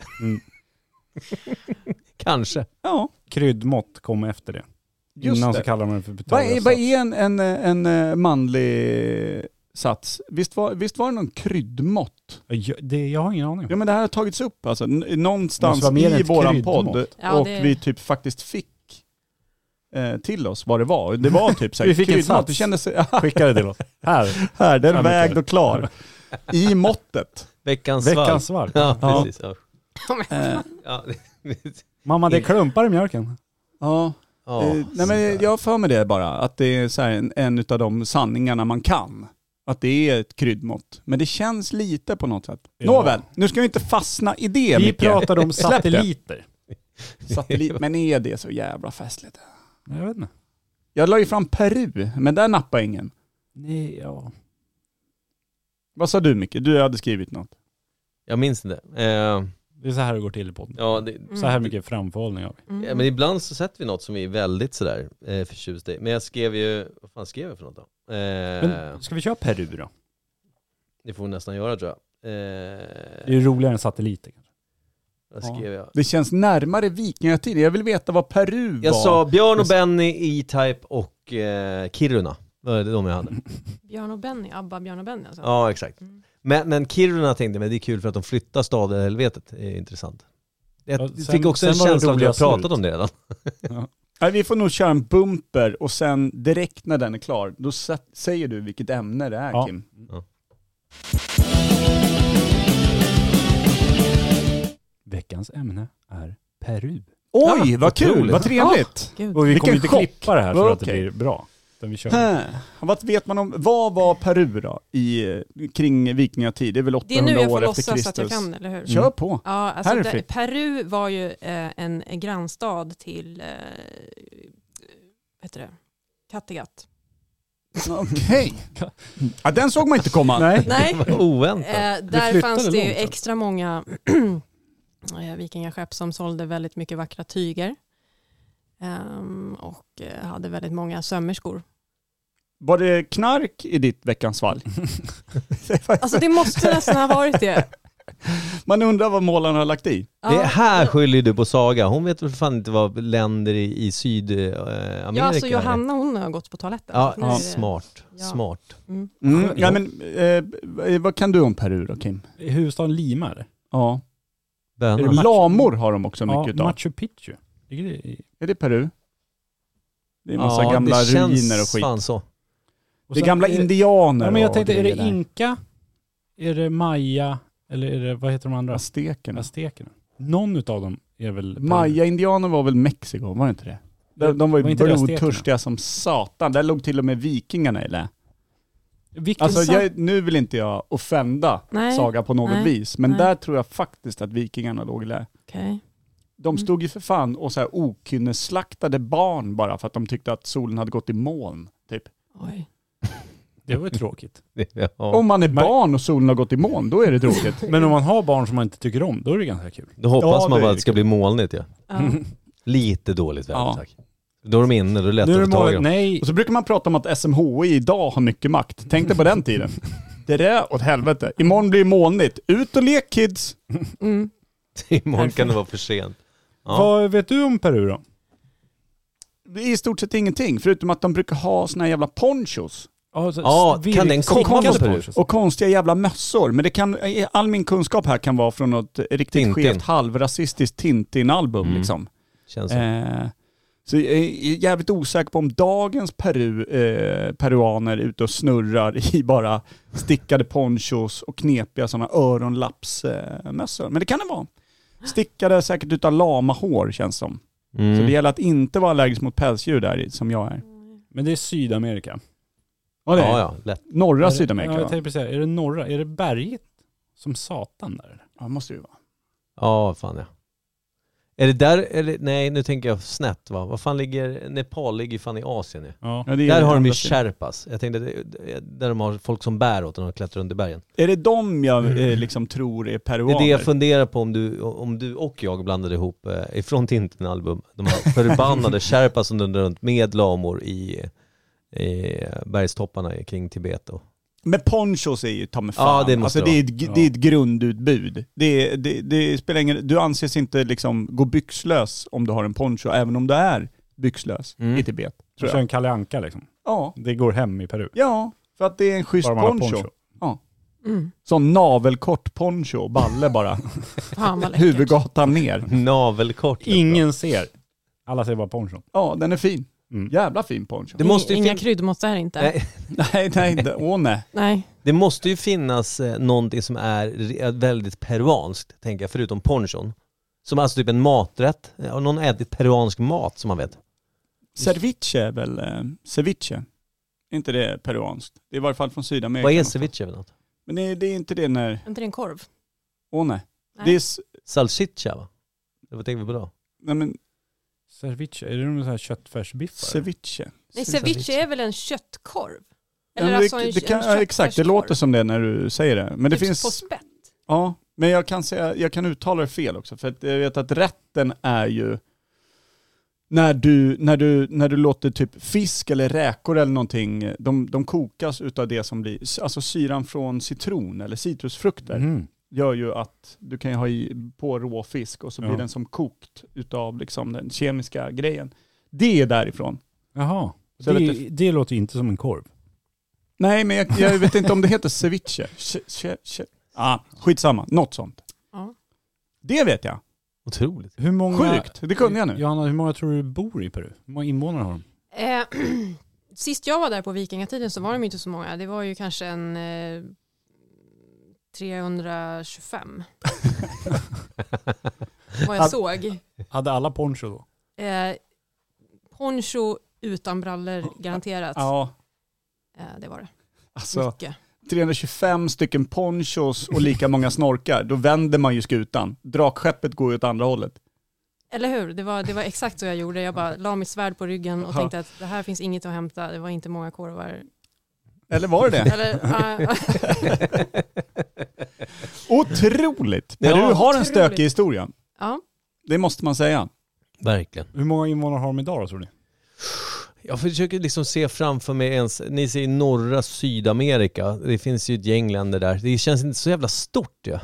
[SPEAKER 3] Kanske.
[SPEAKER 1] Ja,
[SPEAKER 2] Kryddmått kom efter det.
[SPEAKER 1] just
[SPEAKER 2] Innan
[SPEAKER 1] det.
[SPEAKER 2] så kallar man det för
[SPEAKER 1] Vad är, vad
[SPEAKER 2] Pythagoras.
[SPEAKER 1] är en, en, en eh, manlig sats? Visst var, visst var det någon kryddmått?
[SPEAKER 2] Jag, det, jag har ingen aning.
[SPEAKER 1] Ja men det här har tagits upp alltså, n- någonstans
[SPEAKER 2] Måste vara mer än
[SPEAKER 1] i
[SPEAKER 2] ett
[SPEAKER 1] våran
[SPEAKER 2] kryddmått.
[SPEAKER 1] podd.
[SPEAKER 5] Ja,
[SPEAKER 1] och
[SPEAKER 5] det-
[SPEAKER 1] vi typ faktiskt fick eh, till oss vad det var. Det var typ såhär
[SPEAKER 2] Vi fick en
[SPEAKER 1] kryddmått.
[SPEAKER 2] sats.
[SPEAKER 1] Det kändes,
[SPEAKER 2] Skicka det till oss. Här,
[SPEAKER 1] här, den
[SPEAKER 2] Ja,
[SPEAKER 1] är
[SPEAKER 2] men-
[SPEAKER 1] vägd och klar. I måttet.
[SPEAKER 3] Veckans svalg.
[SPEAKER 2] veckans svalg.
[SPEAKER 3] Ja,
[SPEAKER 1] Ja.
[SPEAKER 3] precis. Ja.
[SPEAKER 1] Eh,
[SPEAKER 3] Ja.
[SPEAKER 2] Mamma, det är klumpar i mjölken.
[SPEAKER 1] ja.
[SPEAKER 3] Ja,
[SPEAKER 1] Eh, nej men jag har för mig det bara, att det är så här en, en av de sanningarna man kan. Att det är ett kryddmått. Men det känns lite på något sätt.
[SPEAKER 2] Ja.
[SPEAKER 1] Nåväl, nu ska vi inte fastna i det
[SPEAKER 2] Vi
[SPEAKER 1] Micke.
[SPEAKER 2] pratade om
[SPEAKER 1] Släpp det.
[SPEAKER 2] satelliter.
[SPEAKER 1] Satellit, men är det så jävla festligt?
[SPEAKER 2] Jag vet inte.
[SPEAKER 1] Jag la ju fram Peru, men där nappade ingen.
[SPEAKER 2] Nej, ja.
[SPEAKER 1] Vad sa du Micke? Du hade skrivit något.
[SPEAKER 3] jag minns inte. Eh,
[SPEAKER 2] Det är så här det går till i podden.
[SPEAKER 3] ja, det,
[SPEAKER 2] Så
[SPEAKER 1] Mm.
[SPEAKER 2] här mycket framförhållning har vi.
[SPEAKER 5] Mm.
[SPEAKER 3] ja, men ibland så sätter vi något som vi är väldigt sådär eh, förtjusta i. Men jag skrev ju, vad fan skrev jag för något då? Eh,
[SPEAKER 2] Men ska vi köra Peru då?
[SPEAKER 3] Det får vi nästan göra tror jag.
[SPEAKER 2] Det är
[SPEAKER 3] Eh,
[SPEAKER 2] ju roligare än satelliter. kanske.
[SPEAKER 3] där skrev jag.
[SPEAKER 1] Det känns närmare vikingatiden. Jag vill veta vad Peru
[SPEAKER 3] Jag
[SPEAKER 1] var.
[SPEAKER 3] sa Björn och Benny, E-Type och eh, Kiruna. Det var de jag hade.
[SPEAKER 5] Björn och Benny, ABBA Björn och Benny alltså.
[SPEAKER 3] Ja, exakt.
[SPEAKER 5] Mm.
[SPEAKER 3] Men, men Kiruna tänkte jag, men det är kul för att de flyttar staden i helvetet. Det är intressant. Jag
[SPEAKER 2] Ja, sen-
[SPEAKER 3] fick också en
[SPEAKER 2] sen var det
[SPEAKER 3] känsla av att jag
[SPEAKER 2] roliga slut.
[SPEAKER 3] pratat om det redan.
[SPEAKER 1] Nej, vi får nog köra en bumper och sen direkt när den är klar, då sa- säger du vilket ämne det är
[SPEAKER 2] Ja.
[SPEAKER 1] Kim.
[SPEAKER 2] Veckans ämne är Peru.
[SPEAKER 1] Oj,
[SPEAKER 3] Ja,
[SPEAKER 1] vad kul!
[SPEAKER 3] otroligt.
[SPEAKER 1] Vad trevligt!
[SPEAKER 5] Gud.
[SPEAKER 2] Och vi
[SPEAKER 1] Vilken
[SPEAKER 2] kommer inte
[SPEAKER 1] chock.
[SPEAKER 2] klippa det här så att det
[SPEAKER 1] Okej.
[SPEAKER 2] blir bra. Utan vi kör.
[SPEAKER 1] Ah. Hä. Vad vet man om, vad var Peru då i, kring vikingatid? Det är väl
[SPEAKER 5] Det är nu
[SPEAKER 1] 800
[SPEAKER 5] jag får
[SPEAKER 1] år efter
[SPEAKER 5] låtsas
[SPEAKER 1] Kristus?
[SPEAKER 5] att jag kan det, eller hur?
[SPEAKER 1] Kör på!
[SPEAKER 5] Ja, alltså
[SPEAKER 1] Här är
[SPEAKER 5] där,
[SPEAKER 1] fritt.
[SPEAKER 5] Peru var ju eh, en, en grannstad till eh, heter det? Kattegatt.
[SPEAKER 1] Mm. Okej. Ja, den såg man inte komma.
[SPEAKER 2] Nej.
[SPEAKER 5] Nej,
[SPEAKER 3] Vad oväntat.
[SPEAKER 5] Eh, där
[SPEAKER 2] flyttade
[SPEAKER 5] fanns det ju
[SPEAKER 2] långt, eller?
[SPEAKER 5] extra många eh, vikingaskepp som sålde väldigt mycket vackra tyger. Ehm, och eh, hade väldigt många sömmerskor.
[SPEAKER 1] Var det knark i ditt veckans fall?
[SPEAKER 5] Alltså det måste nästan ha varit det.
[SPEAKER 1] Man undrar vad målarna har lagt i.
[SPEAKER 5] Ja.
[SPEAKER 3] Det här skyller du på Saga. Hon vet väl för fan inte vad länder i, i Sydamerika
[SPEAKER 5] Ja, alltså
[SPEAKER 3] är.
[SPEAKER 5] Johanna hon har gått på toaletten.
[SPEAKER 3] Ja,
[SPEAKER 5] Så nu är det-
[SPEAKER 3] smart.
[SPEAKER 5] Ja.
[SPEAKER 3] Smart.
[SPEAKER 5] Mm.
[SPEAKER 1] Mm. Ja, men, eh, vad kan du om Peru då Kim?
[SPEAKER 2] Huvudstaden Lima är det.
[SPEAKER 1] Ja.
[SPEAKER 3] Bönor.
[SPEAKER 2] Är det
[SPEAKER 1] Lamor har de också mycket
[SPEAKER 2] Ja,
[SPEAKER 1] utav.
[SPEAKER 2] Machu Picchu. Ligger det i-
[SPEAKER 1] Är det Peru? Det är en massa gamla ruiner och skit.
[SPEAKER 3] fan så.
[SPEAKER 2] Och
[SPEAKER 1] Det är
[SPEAKER 2] sen
[SPEAKER 1] gamla
[SPEAKER 2] är det-
[SPEAKER 1] indianer
[SPEAKER 2] Ja, men jag
[SPEAKER 1] och
[SPEAKER 2] tänkte, är
[SPEAKER 1] grejer
[SPEAKER 2] det
[SPEAKER 1] där.
[SPEAKER 2] inka? Är det maya? Eller är det, vad heter de andra?
[SPEAKER 1] Aztekerna.
[SPEAKER 2] Aztekerna? Någon utav dem är väl...
[SPEAKER 1] Maya-indianer var väl Mexiko, var det inte det? De, de var ju
[SPEAKER 2] Var inte det
[SPEAKER 1] blodtörstiga som satan. Där låg till och med vikingarna i lä.
[SPEAKER 2] Vilken
[SPEAKER 1] Alltså
[SPEAKER 2] alltså,
[SPEAKER 1] jag, nu vill inte jag offenda
[SPEAKER 5] Nej,
[SPEAKER 1] Saga på något
[SPEAKER 5] nej,
[SPEAKER 1] vis, men
[SPEAKER 5] nej.
[SPEAKER 1] där tror jag faktiskt att vikingarna låg i lä.
[SPEAKER 5] okej.
[SPEAKER 3] Mm.
[SPEAKER 1] De stod ju för fan och så här okynneslaktade barn bara för att de tyckte att solen hade gått i moln. Typ.
[SPEAKER 5] Oj.
[SPEAKER 2] Det var ju tråkigt.
[SPEAKER 3] Ja.
[SPEAKER 1] Om man är
[SPEAKER 2] Men-
[SPEAKER 1] barn och solen har gått i moln, då är det tråkigt.
[SPEAKER 2] Men om man har barn som man inte tycker om, då är det ganska kul. Mm.
[SPEAKER 3] Då hoppas
[SPEAKER 1] Ja,
[SPEAKER 3] man
[SPEAKER 1] det
[SPEAKER 3] bara
[SPEAKER 1] är
[SPEAKER 3] att det ska bli molnigt ja.
[SPEAKER 5] Ja.
[SPEAKER 3] Lite dåligt väder
[SPEAKER 1] Ja.
[SPEAKER 3] tack. Då är de inne, då är det lättare
[SPEAKER 2] Nu är det
[SPEAKER 3] att få tag i
[SPEAKER 2] målet,
[SPEAKER 3] dem.
[SPEAKER 2] nej,
[SPEAKER 1] Och så brukar man prata om att SMHI idag har mycket makt. Tänk dig på den tiden. Det där åt helvete. Imorgon blir det molnigt. Ut och lek kids!
[SPEAKER 5] Mm.
[SPEAKER 3] Imorgon kan det vara för sent. Ja.
[SPEAKER 2] vad vet du om Peru då?
[SPEAKER 1] Det är i stort sett ingenting, förutom att de brukar ha såna här jävla ponchos.
[SPEAKER 2] Alltså,
[SPEAKER 3] Ja,
[SPEAKER 2] vir-
[SPEAKER 3] kan den komma
[SPEAKER 2] stickade
[SPEAKER 3] från Peru?
[SPEAKER 2] ponchos.
[SPEAKER 1] Och konstiga jävla mössor. Men det kan, all min kunskap här kan vara från något riktigt
[SPEAKER 3] Tintin.
[SPEAKER 1] skevt halvrasistiskt Tintin-album
[SPEAKER 3] Mm.
[SPEAKER 1] liksom.
[SPEAKER 3] Känns så.
[SPEAKER 1] Eh, så jag är jävligt osäker på om dagens Peru, eh, peruaner är ute och snurrar i bara stickade ponchos och knepiga sådana öronlappsmössor. Eh, mössor. Men det kan det vara. Stickade säkert utav lamahår känns som.
[SPEAKER 3] Mm.
[SPEAKER 1] Så det gäller att inte vara allergisk mot pälsdjur där i, som jag är.
[SPEAKER 2] Men det är Sydamerika.
[SPEAKER 1] Och det är
[SPEAKER 3] Ja, ja, lätt.
[SPEAKER 1] Norra
[SPEAKER 2] Är det-
[SPEAKER 1] Sydamerika
[SPEAKER 2] Ja,
[SPEAKER 1] ja,
[SPEAKER 2] jag tänkte precis säga, är det norra, är det berget som satan där? eller?
[SPEAKER 1] ja, det måste det ju vara.
[SPEAKER 3] Ja, fan ja. Är det där, eller nej nu tänker jag snett va? Vad fan ligger, Nepal ligger ju fan i Asien nu.
[SPEAKER 2] Ja.
[SPEAKER 1] Ja, det är
[SPEAKER 3] Där
[SPEAKER 1] ju
[SPEAKER 3] har de
[SPEAKER 1] andra
[SPEAKER 3] ju
[SPEAKER 1] sidan.
[SPEAKER 3] sherpas. Jag tänkte, det- där de har folk som bär åt när de klättrar under bergen.
[SPEAKER 1] Är det de jag eh, liksom tror är
[SPEAKER 3] Mm. Det
[SPEAKER 1] peruaner?
[SPEAKER 3] är det jag funderar på om du, om du och jag blandade ihop eh, ifrån Tintin-album, de här förbannade sherpas som dundrar runt med lamor i, i eh, bergstopparna kring Tibet. Och.
[SPEAKER 1] Men ponchos är ju ta mig fan.
[SPEAKER 3] Ja, det måste
[SPEAKER 1] alltså,
[SPEAKER 3] det
[SPEAKER 1] det, är ett, g-
[SPEAKER 2] vara.
[SPEAKER 1] det är ett grundutbud. Det, är- det, det spelar ingen, du anses inte liksom gå byxlös om du har en poncho, även om du är byxlös
[SPEAKER 3] Mm.
[SPEAKER 1] i Tibet.
[SPEAKER 2] Tror
[SPEAKER 1] Tror
[SPEAKER 2] kör
[SPEAKER 1] jag.
[SPEAKER 2] en Kalle Anka liksom.
[SPEAKER 1] Ja.
[SPEAKER 2] Det går hem i Peru.
[SPEAKER 1] ja, för att det är en schysst
[SPEAKER 2] Bara man har
[SPEAKER 1] poncho.
[SPEAKER 2] poncho.
[SPEAKER 5] Mm.
[SPEAKER 1] Sån navelkort poncho, balle bara.
[SPEAKER 5] Fan vad läckert.
[SPEAKER 1] Huvudgatan ner.
[SPEAKER 3] Navelkort.
[SPEAKER 2] Ingen ser. Alla ser bara ponchon.
[SPEAKER 1] Ja, den är fin.
[SPEAKER 2] Mm.
[SPEAKER 1] Jävla fin poncho.
[SPEAKER 3] Det måste ju
[SPEAKER 5] Inga
[SPEAKER 3] fin-
[SPEAKER 5] kryddmåttar här inte.
[SPEAKER 3] Nej.
[SPEAKER 5] Nej.
[SPEAKER 1] Nej, nej, inte. åh nej.
[SPEAKER 3] Det måste ju finnas eh, någonting som är re- väldigt peruanskt, tänker jag, förutom ponchon. Som alltså typ en maträtt, Eh, har någon ätit peruansk mat som man vet?
[SPEAKER 1] Ceviche är väl, eh, ceviche. Är inte det peruanskt? Det är i varje fall från Sydamerika.
[SPEAKER 3] Vad är ceviche för något?
[SPEAKER 1] Men det, det är inte det när,
[SPEAKER 5] Är inte det en korv?
[SPEAKER 1] åh nej.
[SPEAKER 5] Nej.
[SPEAKER 1] Det är, s-
[SPEAKER 3] Salsiccia va? Eller Vad tänker vi på då?
[SPEAKER 1] nej men
[SPEAKER 2] Ceviche, är det någon sån här köttfärsbiffar?
[SPEAKER 1] Ceviche.
[SPEAKER 5] Nej,
[SPEAKER 3] Ceviche.
[SPEAKER 5] ceviche är väl en köttkorv?
[SPEAKER 1] Ja,
[SPEAKER 5] Eller
[SPEAKER 1] men
[SPEAKER 5] alltså
[SPEAKER 1] det,
[SPEAKER 5] en,
[SPEAKER 1] det kan,
[SPEAKER 5] en
[SPEAKER 1] ja, exakt, det
[SPEAKER 5] köttfärskorv.
[SPEAKER 1] låter som det när du säger det. Men det
[SPEAKER 5] Typ På
[SPEAKER 1] finns,
[SPEAKER 5] spett.
[SPEAKER 1] ja, men jag kan, säga, jag kan uttala det fel också. För att jag vet att rätten är ju när du, när du, när du låter typ fisk eller räkor eller någonting, de, de kokas utav det som blir, alltså syran från citron eller citrusfrukter
[SPEAKER 2] Mm.
[SPEAKER 1] gör ju att du kan ju ha i, på råfisk och så
[SPEAKER 2] Ja.
[SPEAKER 1] blir den som kokt utav liksom den kemiska grejen. Det är därifrån.
[SPEAKER 2] Jaha.
[SPEAKER 1] Så jag vet
[SPEAKER 2] Det, det låter ju inte som en korv.
[SPEAKER 1] Nej, men jag, jag vet inte om det heter ceviche. Che, che, che. Ah, skitsamma, något sånt.
[SPEAKER 5] Ja.
[SPEAKER 1] Det vet jag.
[SPEAKER 3] Otroligt.
[SPEAKER 2] Hur många,
[SPEAKER 1] Sjukt, det kunde jag nu.
[SPEAKER 2] Johanna, hur många tror du bor i Peru? Hur många invånare har de?
[SPEAKER 5] Eh, Sist jag var där på vikingatiden så var de inte så många. Det var ju kanske en eh, 325. Vad jag såg.
[SPEAKER 2] Hade alla poncho då?
[SPEAKER 5] Eh, poncho utan brallor garanterat.
[SPEAKER 1] Ja,
[SPEAKER 5] Eh, det var det.
[SPEAKER 1] alltså
[SPEAKER 5] Mycket.
[SPEAKER 1] 325 stycken ponchos och lika många snorkar, då vänder man ju skutan. Drakskeppet går ju åt andra hållet.
[SPEAKER 5] Eller hur? Det var, det var exakt så jag gjorde. Jag bara la mitt svärd på ryggen och
[SPEAKER 1] Ja.
[SPEAKER 5] tänkte att det här finns inget att hämta. Det var inte många korvar.
[SPEAKER 1] Eller var det det?
[SPEAKER 5] Eller, ah,
[SPEAKER 1] Otroligt! Men
[SPEAKER 3] Ja,
[SPEAKER 1] du har en
[SPEAKER 5] otroligt.
[SPEAKER 1] stökig historia.
[SPEAKER 5] ja.
[SPEAKER 1] Det måste man säga.
[SPEAKER 3] Verkligen.
[SPEAKER 2] Hur många invånare har de idag då tror ni?
[SPEAKER 3] Jag försöker liksom se framför mig ens, ni säger norra Sydamerika, det finns ju ett gäng länder där. Det känns inte så jävla stort ja.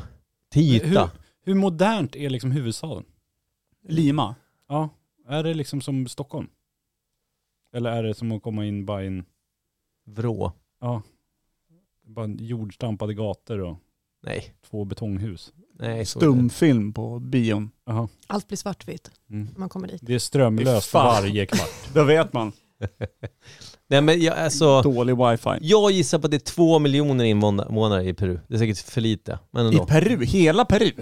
[SPEAKER 2] Hur,
[SPEAKER 3] Tita.
[SPEAKER 2] hur modernt är liksom huvudstaden?
[SPEAKER 1] Lima.
[SPEAKER 2] Ja, är det liksom som Stockholm? Eller är det som att komma in bara i en,
[SPEAKER 3] Vrå.
[SPEAKER 2] ja, bara en jordstampade gator och
[SPEAKER 3] Nej.
[SPEAKER 2] två betonghus?
[SPEAKER 3] Nej, så är det.
[SPEAKER 1] Stumfilm på bion.
[SPEAKER 2] Jaha.
[SPEAKER 5] Allt blir svartvitt
[SPEAKER 2] Mm.
[SPEAKER 5] när man kommer dit.
[SPEAKER 2] Det är strömlöst
[SPEAKER 1] Fan.
[SPEAKER 2] varje kvart.
[SPEAKER 1] Då vet man.
[SPEAKER 3] Nej men jag, alltså,
[SPEAKER 1] Dålig wifi.
[SPEAKER 3] jag gissar på att det är två miljoner invånare i Peru. Det är säkert för lite. Men
[SPEAKER 1] I
[SPEAKER 3] ändå.
[SPEAKER 1] Peru, hela Peru.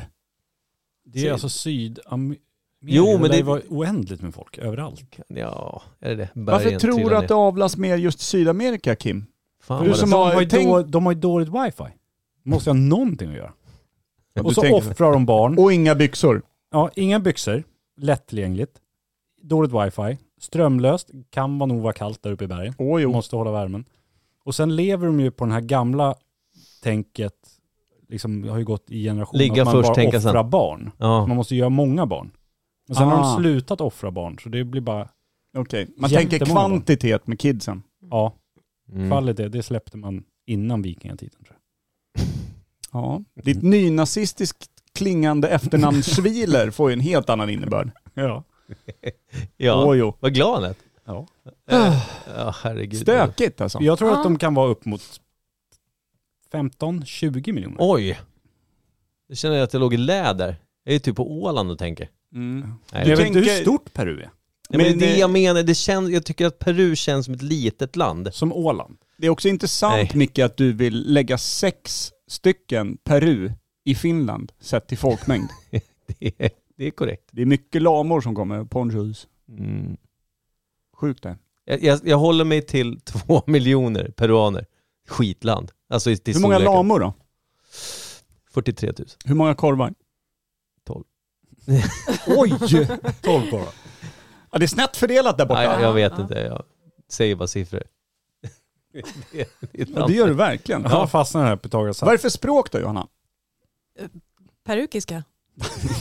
[SPEAKER 2] Det är alltså Sydamerika.
[SPEAKER 3] Jo, men
[SPEAKER 2] det
[SPEAKER 3] det-
[SPEAKER 2] var oändligt med folk överallt.
[SPEAKER 3] Ja, är det det?
[SPEAKER 1] Varför
[SPEAKER 3] Bergen
[SPEAKER 1] tror du
[SPEAKER 3] trillar
[SPEAKER 1] att
[SPEAKER 3] ner.
[SPEAKER 1] det avlas mer just Sydamerika, Kim?
[SPEAKER 3] Fan,
[SPEAKER 1] Du
[SPEAKER 3] vad
[SPEAKER 1] som
[SPEAKER 3] det...
[SPEAKER 2] de,
[SPEAKER 1] har-
[SPEAKER 2] har ju
[SPEAKER 1] tänk-
[SPEAKER 2] då, de har ju dåligt wifi. Måste jag ha någonting att göra.
[SPEAKER 1] Ja, du
[SPEAKER 2] Och så
[SPEAKER 1] tänker-
[SPEAKER 2] offrar de barn.
[SPEAKER 1] Och inga byxor.
[SPEAKER 2] Ja, inga byxor, lättillgängligt, dåligt wifi, strömlöst, kan vara nog vara kallt där uppe i bergen,
[SPEAKER 1] Åh jo.
[SPEAKER 2] måste hålla värmen. Och sen lever de ju på den här gamla tänket, liksom det har ju gått i generationer,
[SPEAKER 3] Ligga
[SPEAKER 2] att man
[SPEAKER 3] först,
[SPEAKER 2] bara
[SPEAKER 3] tänka
[SPEAKER 2] offrar barn.
[SPEAKER 3] Ja.
[SPEAKER 2] Man måste göra många barn. Men sen har
[SPEAKER 1] Ah.
[SPEAKER 2] de slutat offra barn, så det blir bara,
[SPEAKER 1] Okej. Man
[SPEAKER 2] Jättemånga
[SPEAKER 1] tänker
[SPEAKER 2] barn.
[SPEAKER 1] kvantitet med kidsen.
[SPEAKER 2] ja,
[SPEAKER 3] Mm.
[SPEAKER 2] fallet är, det släppte man innan vikingatiden tror jag.
[SPEAKER 1] Ja. Ditt nynazistiskt klingande efternamn Schwiler får ju en helt annan innebörd.
[SPEAKER 2] Ja.
[SPEAKER 1] Åh
[SPEAKER 3] ja.
[SPEAKER 1] jo.
[SPEAKER 3] Vad glad han Eh,
[SPEAKER 2] Ja.
[SPEAKER 3] Ja, herregud.
[SPEAKER 1] Stökigt alltså.
[SPEAKER 2] Jag tror att
[SPEAKER 5] Ah.
[SPEAKER 2] de kan vara upp mot 15-20 miljoner.
[SPEAKER 3] Oj. Jag känner att jag låg i läder. Jag är typ på Åland och tänker.
[SPEAKER 1] Mm.
[SPEAKER 3] Nej,
[SPEAKER 2] jag vet inte hur
[SPEAKER 1] tänker-
[SPEAKER 2] stort Peru är,
[SPEAKER 3] Nej, men,
[SPEAKER 1] Men,
[SPEAKER 3] det är det
[SPEAKER 1] eh,
[SPEAKER 3] jag menar, det känns, jag tycker att Peru känns som ett litet land.
[SPEAKER 2] som Åland.
[SPEAKER 1] Det är också intressant
[SPEAKER 3] Nej.
[SPEAKER 1] Micke att du vill lägga sex stycken Peru i Finland sett till folkmängd.
[SPEAKER 3] Det är, det är korrekt.
[SPEAKER 1] Det är mycket lamor som kommer, ponchos.
[SPEAKER 3] Mm.
[SPEAKER 1] Sjukt det.
[SPEAKER 3] Jag, jag, jag håller mig till två miljoner peruaner. Skitland. Alltså i- till
[SPEAKER 1] Hur många
[SPEAKER 3] storleken.
[SPEAKER 1] lamor då?
[SPEAKER 3] 43 000.
[SPEAKER 1] Hur många korvar?
[SPEAKER 2] Oj! 12 bara.
[SPEAKER 1] Ja, det är snett fördelat där borta.
[SPEAKER 3] Nej, jag, jag vet
[SPEAKER 5] Ja.
[SPEAKER 3] inte, jag säger bara siffror. det, det är ett
[SPEAKER 1] Ja,
[SPEAKER 3] land.
[SPEAKER 1] det gör du verkligen.
[SPEAKER 2] Jag fastnar här på Pythagoras
[SPEAKER 1] Vad är det för språk då Johanna?
[SPEAKER 5] Perukiska.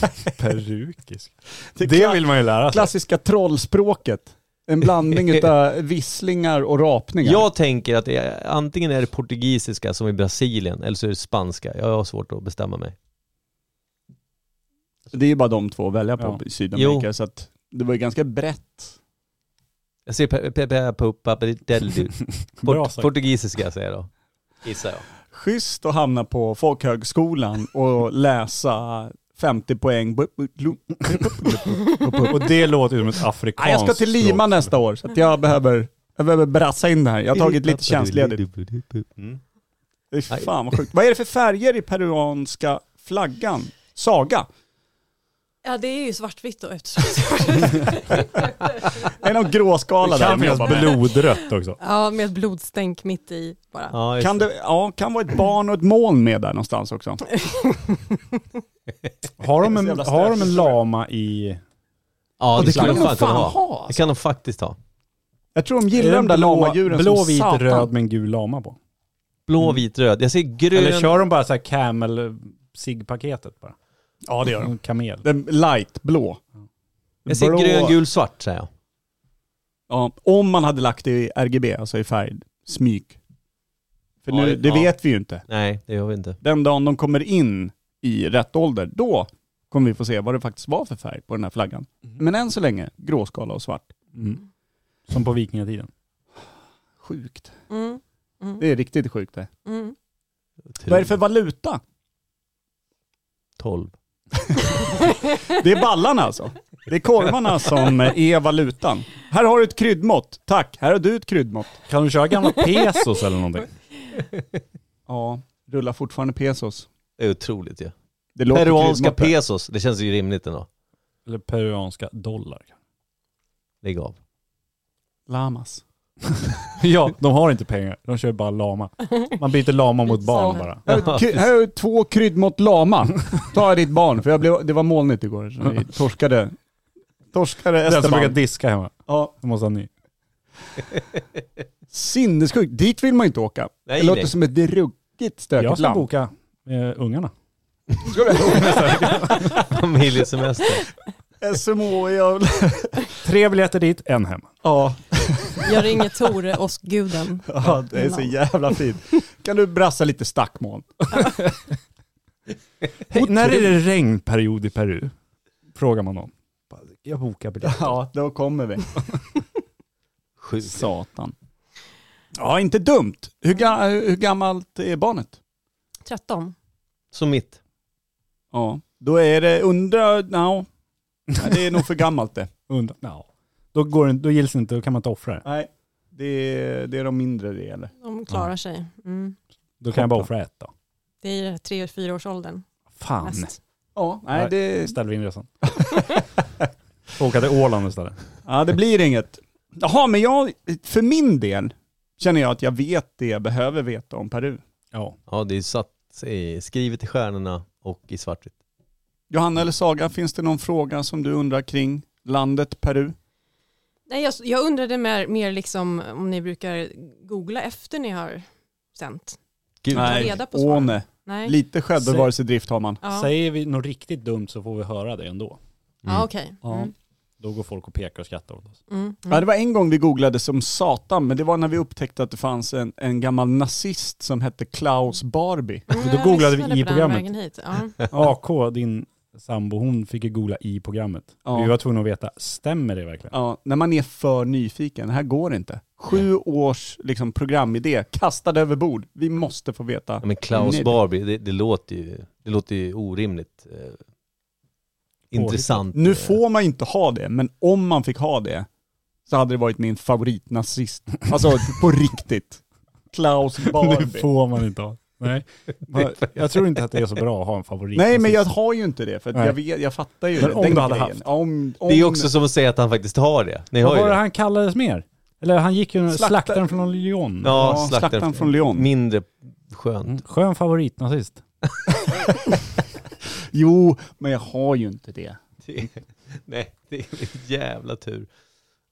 [SPEAKER 2] Perukisk.
[SPEAKER 1] Det,
[SPEAKER 2] Det
[SPEAKER 1] kla-
[SPEAKER 2] vill man ju lära sig.
[SPEAKER 1] klassiska trollspråket. En blandning utav visslingar och rapningar.
[SPEAKER 3] Jag tänker att det är, antingen är det portugisiska som i Brasilien eller så är det spanska. Jag har svårt att bestämma mig.
[SPEAKER 1] Det är ju bara de två att välja på
[SPEAKER 2] Ja.
[SPEAKER 1] i Sydamerika så att det var ju ganska brett.
[SPEAKER 3] Jag säger pe- pe- pe- puppa, bridelli.
[SPEAKER 2] Bra
[SPEAKER 3] Port,
[SPEAKER 2] sagt.
[SPEAKER 3] portugisiska säger jag då. Gissar jag.
[SPEAKER 1] Schysst att hamna på folkhögskolan och läsa 50 poäng.
[SPEAKER 2] Och det låter ju som ett
[SPEAKER 1] Nej,
[SPEAKER 2] afrikanskt
[SPEAKER 1] jag ska till
[SPEAKER 2] språk.
[SPEAKER 1] Lima nästa år så att jag behöver, jag behöver brassa in det här. Jag har tagit lite tjänstledigt.
[SPEAKER 3] Mm.
[SPEAKER 1] Fy Fan vad sjukt. Vad är det för färger i peruanska flaggan? Saga?
[SPEAKER 5] Ja, det är ju svartvitt då eftersom
[SPEAKER 1] Är det någon gråskala
[SPEAKER 2] Det
[SPEAKER 1] där
[SPEAKER 2] kan
[SPEAKER 1] de
[SPEAKER 2] finnas
[SPEAKER 1] jobbar med?
[SPEAKER 2] blodrött också.
[SPEAKER 5] Ja, med ett blodstänk mitt i bara.
[SPEAKER 3] Ja, just
[SPEAKER 1] Kan det ja, kan vara ett barn och ett moln med där någonstans också.
[SPEAKER 2] Har de
[SPEAKER 1] Det är så
[SPEAKER 2] en,
[SPEAKER 1] jävla
[SPEAKER 2] har de en
[SPEAKER 1] stökigt.
[SPEAKER 2] lama i...
[SPEAKER 3] ja, det,
[SPEAKER 1] det
[SPEAKER 3] skulle
[SPEAKER 1] kan
[SPEAKER 3] de fan kunna ha.
[SPEAKER 1] ha.
[SPEAKER 3] Det kan de faktiskt ha.
[SPEAKER 1] Jag tror de gillar de där
[SPEAKER 2] blå-
[SPEAKER 1] lamadjuren
[SPEAKER 2] Blå,
[SPEAKER 1] som
[SPEAKER 2] vit,
[SPEAKER 1] satan.
[SPEAKER 2] röd med en gul lama på.
[SPEAKER 3] Blå, vit, röd. Jag säger
[SPEAKER 2] Eller
[SPEAKER 3] grön.
[SPEAKER 2] kör de bara så här camel sig paketet bara?
[SPEAKER 1] Ja det gör de.
[SPEAKER 2] En Kamel.
[SPEAKER 1] Den light blå.
[SPEAKER 3] Jag säger
[SPEAKER 1] Blå.
[SPEAKER 3] grön, gul, svart säger jag.
[SPEAKER 1] Ja, om man hade lagt det i RGB, alltså i färg, smyg. För nu,
[SPEAKER 3] Ja,
[SPEAKER 1] det
[SPEAKER 3] ja.
[SPEAKER 1] vet vi ju inte.
[SPEAKER 3] Nej, det gör vi inte.
[SPEAKER 1] Den dagen de kommer in i rätt ålder, då kommer vi få se vad det faktiskt var för färg på den här flaggan. Men än så länge, gråskala och svart.
[SPEAKER 2] Mm. Som på vikingatiden.
[SPEAKER 1] Sjukt.
[SPEAKER 5] Mm. Mm.
[SPEAKER 1] Det är riktigt sjukt det.
[SPEAKER 5] Mm.
[SPEAKER 1] Vad är det för valuta?
[SPEAKER 3] 12?
[SPEAKER 1] Det är ballarna alltså. Det är korvarna som eh, är valutan. Här har du ett kryddmått. Tack, här har du ett kryddmått.
[SPEAKER 2] Kan de köra gamla pesos eller någonting?
[SPEAKER 1] Ja, rullar fortfarande pesos.
[SPEAKER 3] Det är otroligt ju. Ja.
[SPEAKER 1] Det låter
[SPEAKER 3] Peruanska
[SPEAKER 1] kryddmått där.
[SPEAKER 3] pesos, det känns ju rimligt ändå.
[SPEAKER 2] Eller peruanska dollar.
[SPEAKER 3] Lägg av.
[SPEAKER 1] Lamas.
[SPEAKER 2] Ja, de har inte pengar. De kör bara lama. Man byter lama mot barn bara.
[SPEAKER 1] Här har, kry- här har du två kryddmått lama. Ta ditt barn, för jag blev, det var molnigt igår. Så vi torskade. Torskade
[SPEAKER 2] Den som brukar
[SPEAKER 1] Esteban.
[SPEAKER 2] diska hemma.
[SPEAKER 1] Ja,
[SPEAKER 2] Det måste ha ny.
[SPEAKER 1] sinnessjukt. Dit vill man ju inte åka.
[SPEAKER 3] Nej,
[SPEAKER 1] det låter
[SPEAKER 3] nej.
[SPEAKER 1] som ett ruggigt
[SPEAKER 2] Jag
[SPEAKER 1] stökigt
[SPEAKER 2] ska
[SPEAKER 1] land.
[SPEAKER 2] boka eh, ungarna.
[SPEAKER 3] Familjesemester.
[SPEAKER 1] SMO, jag...
[SPEAKER 2] Tre biljetter dit, en hem.
[SPEAKER 1] Ja.
[SPEAKER 5] Jag ringer Tore, åskguden.
[SPEAKER 1] ja, det är så jävla fint. Kan du brassa lite stackmoln?
[SPEAKER 2] Hej, när är det regnperiod i Peru? Frågar man någon. Bara, Jag bokar biljetter.
[SPEAKER 1] Ja, då kommer vi.
[SPEAKER 3] Sjukt.
[SPEAKER 1] Satan. Ja, inte dumt. Hur, ga- hur gammalt är barnet?
[SPEAKER 5] 13.
[SPEAKER 3] Som mitt.
[SPEAKER 1] Ja, då är det, undra, no. Nej, det är nog för gammalt det.
[SPEAKER 2] Undra. Ja. Då, går det, då gills det inte, då kan man inte offra det.
[SPEAKER 1] Nej, det är, det är de mindre det gäller.
[SPEAKER 5] De klarar sig. Mm.
[SPEAKER 2] Då kan jag bara offra ett då.
[SPEAKER 5] Det är i 3-4 års åldern.
[SPEAKER 2] Fan,
[SPEAKER 5] mest.
[SPEAKER 1] Ja, nej det,
[SPEAKER 2] ställer vi in resan. Får Åka till Åland istället.
[SPEAKER 1] ja, det blir inget. Jaha, men jag, för min del känner jag att jag vet det jag behöver veta om Peru.
[SPEAKER 2] Ja.
[SPEAKER 3] Ja, det är satt, i- skrivet i stjärnorna och i svartvitt.
[SPEAKER 1] Johanna eller Saga, finns det någon fråga som du undrar kring landet Peru?
[SPEAKER 5] Nej, jag, jag undrade mer, mer liksom om ni brukar googla efter ni har sänt.
[SPEAKER 3] Gud.
[SPEAKER 5] Nej. reda på svaren.
[SPEAKER 1] Åh, nej.
[SPEAKER 5] Nej.
[SPEAKER 1] Lite självbevarelsedrift har man.
[SPEAKER 5] Ja,
[SPEAKER 2] Säger vi något riktigt dumt så får vi höra det ändå.
[SPEAKER 1] Ah,
[SPEAKER 5] ja okej. Mm.
[SPEAKER 2] Då går folk och pekar och skrattar åt oss.
[SPEAKER 5] Mm.
[SPEAKER 1] Ja,
[SPEAKER 5] Mm.
[SPEAKER 1] det var en gång vi googlade som satan, men det var när vi upptäckte att det fanns en, en gammal nazist som hette Klaus Barbie.
[SPEAKER 5] Mm,
[SPEAKER 2] Då
[SPEAKER 5] jag
[SPEAKER 2] googlade vi
[SPEAKER 5] lyssnade
[SPEAKER 2] i
[SPEAKER 5] på den
[SPEAKER 2] programmet.
[SPEAKER 5] vägen Hit. Ja.
[SPEAKER 2] AK, din sambo, hon fick ju googla i programmet.
[SPEAKER 1] Ja.
[SPEAKER 2] Vi var tvungna att veta, stämmer det verkligen?
[SPEAKER 1] Ja, när man är för nyfiken, det här går inte. Sju års liksom, programidé kastade över bord. Vi måste få veta.
[SPEAKER 3] Ja, men Klaus
[SPEAKER 1] Nej.
[SPEAKER 3] Barbie, det, det, låter ju, det låter ju orimligt eh, intressant. Eh,
[SPEAKER 1] Nu får man ju inte ha det, men om man fick ha det så hade det varit min favoritnazist. Alltså på riktigt. Klaus
[SPEAKER 2] Nu
[SPEAKER 1] Barbie.
[SPEAKER 2] får man inte ha. Nej. Man- Jag tror inte att det är så bra att ha en favorit.
[SPEAKER 1] Nej men jag har ju inte det, för att
[SPEAKER 2] Nej.
[SPEAKER 1] jag, vet, jag fattar ju
[SPEAKER 2] Men
[SPEAKER 1] det,
[SPEAKER 2] om
[SPEAKER 1] den
[SPEAKER 2] du hade
[SPEAKER 1] grejen.
[SPEAKER 2] haft.
[SPEAKER 1] Om, om,
[SPEAKER 3] Det är också som att säga att han faktiskt har det. Ni
[SPEAKER 2] Vad
[SPEAKER 3] hör ju
[SPEAKER 2] var det
[SPEAKER 3] det.
[SPEAKER 2] han kallades mer? Eller han gick ju
[SPEAKER 1] Slakta-
[SPEAKER 2] slaktaren från Lyon. Mm.
[SPEAKER 1] Ja, slaktaren från Lyon.
[SPEAKER 3] Mindre skönt.
[SPEAKER 2] Skön favoritnazist.
[SPEAKER 1] Jo, men jag har ju inte det.
[SPEAKER 3] Det, nej, det är en jävla tur.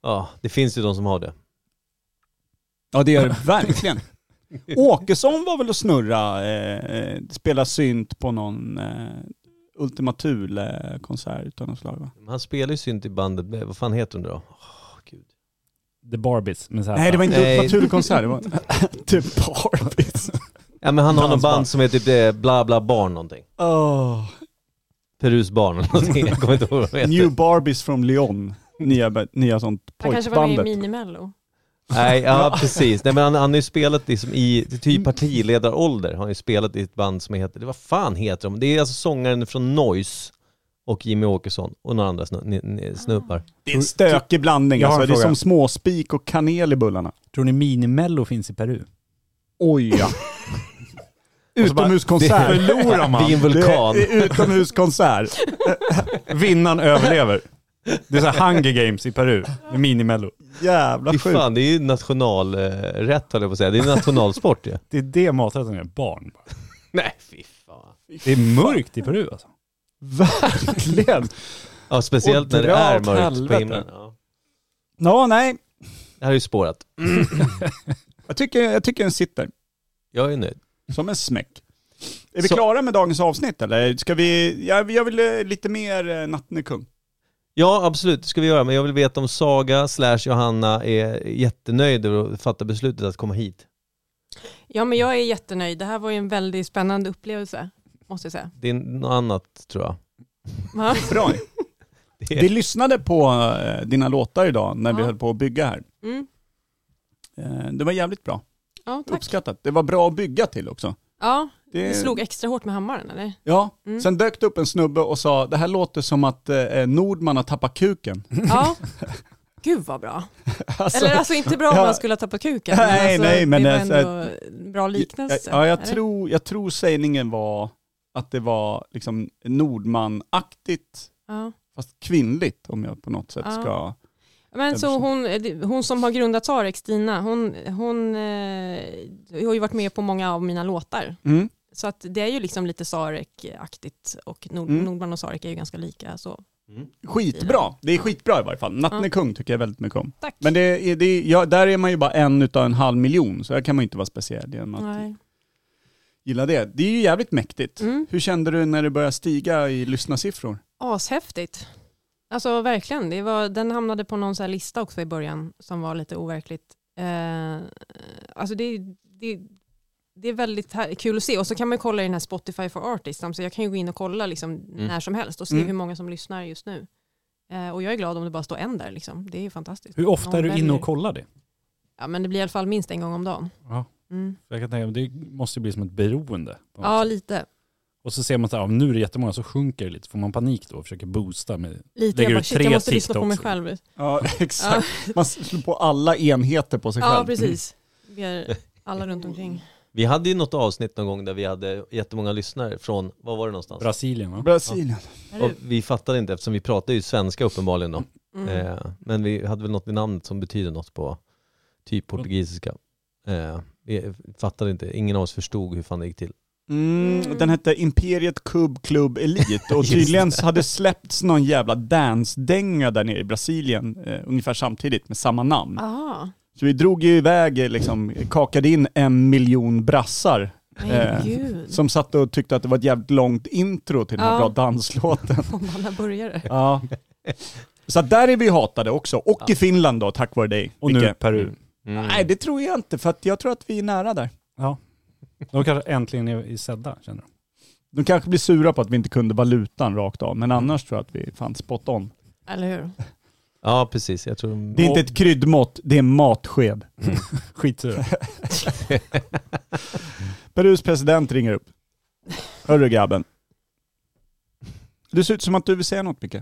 [SPEAKER 3] Ja, det finns ju de som har det.
[SPEAKER 1] Ja det gör det verkligen. Åkesson var väl och snurra, eh, eh, spela synt på någon eh, Ultima Thule-konsert utav något slag va?
[SPEAKER 3] Men Han spelar ju synt i bandet, eh, vad fan heter hon då? Åh, gud.
[SPEAKER 2] The Barbies med Z.
[SPEAKER 1] Nej det var inte
[SPEAKER 3] Nej.
[SPEAKER 1] Ultima Thule-konsert, det var The Barbies.
[SPEAKER 3] Ja men han har någon
[SPEAKER 1] Dansband.
[SPEAKER 3] band som heter typ eh, Bla Bla Barn någonting.
[SPEAKER 1] Oh.
[SPEAKER 3] Perus Barn eller någonting, jag kommer inte ihåg vad de heter.
[SPEAKER 1] New Barbies from Lyon, nya, ba- nya sånt
[SPEAKER 5] Han kanske var med i
[SPEAKER 1] pojkbandet.
[SPEAKER 5] Minimello.
[SPEAKER 3] Nej, ja precis. Nej men han, han har ju spelat liksom i, typ partiledarålder, har han ju spelat i ett band som heter, det vad fan heter de? Det är alltså sångaren från Noise och Jimmy Åkesson och några andra snu, ni, ni, snubbar.
[SPEAKER 1] Det är en stökig blandning
[SPEAKER 2] Jag har en
[SPEAKER 1] alltså, det är
[SPEAKER 2] fråga.
[SPEAKER 1] som småspik och kanel i bullarna.
[SPEAKER 2] Tror ni Minimello finns i Peru?
[SPEAKER 1] Oj ja.
[SPEAKER 3] Det-
[SPEAKER 1] Utomhuskonsert.
[SPEAKER 2] Förlorar
[SPEAKER 3] Vid en
[SPEAKER 1] Det
[SPEAKER 3] vulkan.
[SPEAKER 1] är, det är utomhuskonsert.
[SPEAKER 2] Vinnaren överlever. Det är så här Hunger Games i Peru, med Minimello.
[SPEAKER 1] Jävla
[SPEAKER 3] Fy
[SPEAKER 1] sjukt.
[SPEAKER 3] fan, det är ju nationalrätt höll jag på att säga. Det är nationalsport ju.
[SPEAKER 2] Det är det maträtten är, barn.
[SPEAKER 3] Nej, fy fan.
[SPEAKER 2] Det är mörkt i Peru alltså.
[SPEAKER 1] Verkligen.
[SPEAKER 3] Ja, speciellt
[SPEAKER 1] Och
[SPEAKER 3] när det
[SPEAKER 1] dra
[SPEAKER 3] är
[SPEAKER 1] åt
[SPEAKER 3] mörkt
[SPEAKER 1] helvete.
[SPEAKER 3] på himlen. Ja.
[SPEAKER 1] Ja, nej.
[SPEAKER 3] Det här är ju spårat.
[SPEAKER 1] Jag tycker, jag tycker den sitter.
[SPEAKER 3] Jag är nöjd.
[SPEAKER 1] Som en smäck. Är vi
[SPEAKER 3] Så-
[SPEAKER 1] klara med dagens avsnitt eller? Ska vi, jag, jag vill eh, lite mer eh, Natten är kung.
[SPEAKER 3] Ja, absolut, det ska vi göra. Men jag vill veta om Saga slash Johanna är jättenöjd över att fatta beslutet att komma hit.
[SPEAKER 5] Ja, men jag är jättenöjd. Det här var ju en väldigt spännande upplevelse, måste jag säga.
[SPEAKER 3] Det är något annat tror jag.
[SPEAKER 5] Va?
[SPEAKER 1] Bra.
[SPEAKER 3] Det
[SPEAKER 1] Vi
[SPEAKER 3] är...
[SPEAKER 1] lyssnade på eh, dina låtar idag när vi
[SPEAKER 5] Ja.
[SPEAKER 1] höll på att bygga här.
[SPEAKER 5] Mm.
[SPEAKER 1] Eh, Det var jävligt bra.
[SPEAKER 5] Ja, tack.
[SPEAKER 1] Uppskattat. Det var bra att bygga till också.
[SPEAKER 5] Ja,
[SPEAKER 1] Det-
[SPEAKER 5] det slog extra hårt med hammaren, eller?
[SPEAKER 1] Ja,
[SPEAKER 5] Mm.
[SPEAKER 1] sen dök det upp en snubbe och sa det här låter som att eh, Nordman har tappat kuken.
[SPEAKER 5] Ja. Gud vad bra.
[SPEAKER 1] Alltså,
[SPEAKER 5] eller alltså inte bra om
[SPEAKER 1] ja.
[SPEAKER 5] man skulle ha tappat kuken.
[SPEAKER 1] Nej,
[SPEAKER 5] alltså,
[SPEAKER 1] nej, men
[SPEAKER 5] det var
[SPEAKER 1] alltså-
[SPEAKER 5] ändå en bra liknelse.
[SPEAKER 1] Ja, jag
[SPEAKER 5] eller?
[SPEAKER 1] tror, jag tror sägningen var att det var liksom Nordman-aktigt,
[SPEAKER 5] Ja.
[SPEAKER 1] fast kvinnligt om jag på något sätt
[SPEAKER 5] Ja.
[SPEAKER 1] ska...
[SPEAKER 5] Men så hon, eh, hon som har grundat Sarex, Stina, hon, hon eh, har ju varit med på många av mina låtar.
[SPEAKER 1] Mm.
[SPEAKER 5] Så att det är ju liksom lite Sarek-aktigt och Nord-
[SPEAKER 1] Mm.
[SPEAKER 5] Nordman och Sarek är ju ganska lika. Så.
[SPEAKER 1] Skitbra! Det är skitbra i varje fall. Natten
[SPEAKER 5] Ja.
[SPEAKER 1] är kung tycker jag väldigt mycket om.
[SPEAKER 5] Tack.
[SPEAKER 1] Men det är, det är, ja, där är man ju bara en utav en halv miljon, så där kan man ju inte vara speciell genom att
[SPEAKER 5] Nej.
[SPEAKER 1] gilla det. Det är ju jävligt mäktigt.
[SPEAKER 5] Mm.
[SPEAKER 1] Hur kände du när det började stiga i lyssnarsiffror?
[SPEAKER 5] Ashäftigt. Alltså verkligen, det var, den hamnade på någon så här lista också i början som var lite overkligt. Eh, alltså det, det, det är väldigt här, kul att se och så kan man kolla i den här Spotify for Artists, så jag kan ju gå in och kolla liksom när som helst och se
[SPEAKER 1] Mm.
[SPEAKER 5] hur många som lyssnar just nu. Eh, och jag är glad om det bara står en där, liksom. det är ju fantastiskt.
[SPEAKER 2] Hur ofta
[SPEAKER 5] Någon
[SPEAKER 2] är du inne
[SPEAKER 5] väljer.
[SPEAKER 2] och kollar det?
[SPEAKER 5] Ja men det blir i alla fall minst en gång om dagen.
[SPEAKER 2] Ja.
[SPEAKER 5] Mm.
[SPEAKER 2] Jag kan tänka, mig, det måste ju bli som ett beroende. på något
[SPEAKER 5] Ja
[SPEAKER 2] sätt.
[SPEAKER 5] lite.
[SPEAKER 2] Och så ser man att ja, nu är det jättemånga, så sjunker det lite. Får man panik då och försöker boosta med...
[SPEAKER 5] lite.
[SPEAKER 2] Lägger
[SPEAKER 5] Jag,
[SPEAKER 2] du
[SPEAKER 5] bara, shit,
[SPEAKER 2] tre
[SPEAKER 5] jag måste lyssna på mig
[SPEAKER 2] TikToks?
[SPEAKER 5] själv.
[SPEAKER 1] Ja, exakt. Man slår på alla enheter på sig själv. Mm.
[SPEAKER 5] Ja precis. Vi är alla runt omkring.
[SPEAKER 3] Vi hade ju något avsnitt någon gång där vi hade jättemånga lyssnare från, var var det någonstans?
[SPEAKER 2] Brasilien va?
[SPEAKER 1] Mm. Brasilien.
[SPEAKER 3] Och vi fattade inte eftersom vi pratade ju svenska uppenbarligen då.
[SPEAKER 5] Mm.
[SPEAKER 3] Eh, men vi hade väl något i namnet som betyder något på typ
[SPEAKER 1] Mm.
[SPEAKER 3] portugisiska. Eh, vi fattade inte, ingen av oss förstod hur fan det gick till.
[SPEAKER 1] Mm, den hette Imperiet Cub Club Elite och tydligen så hade släppts någon jävla dansdänga där nere i Brasilien eh, ungefär samtidigt med samma namn.
[SPEAKER 5] Aha.
[SPEAKER 1] Så vi drog ju iväg, eh, liksom, kakade in en miljon brassar Eh,
[SPEAKER 5] Men gud,
[SPEAKER 1] som satt och tyckte att det var ett jävligt långt intro till den här
[SPEAKER 5] Ja.
[SPEAKER 1] bra danslåten.
[SPEAKER 5] om alla började.
[SPEAKER 1] Ja. Så att där är vi hatade också, och i Finland då tack vare dig.
[SPEAKER 2] Och nu
[SPEAKER 1] Micke.
[SPEAKER 2] Peru.
[SPEAKER 1] Mm.
[SPEAKER 3] Mm.
[SPEAKER 1] Nej det tror jag inte, för att jag tror att vi är nära där.
[SPEAKER 2] De kanske äntligen är är sedda, känner du?
[SPEAKER 1] De kanske blir sura på att vi inte kunde valutan rakt av, men annars tror jag att vi fanns spot on.
[SPEAKER 5] Eller hur?
[SPEAKER 3] Ja precis, jag tror de...
[SPEAKER 1] Det är inte ett kryddmått, det är en matsked.
[SPEAKER 2] Skitsura.
[SPEAKER 1] Perus president ringer upp. Hörru grabben. Det ser ut som att du vill säga något Micke.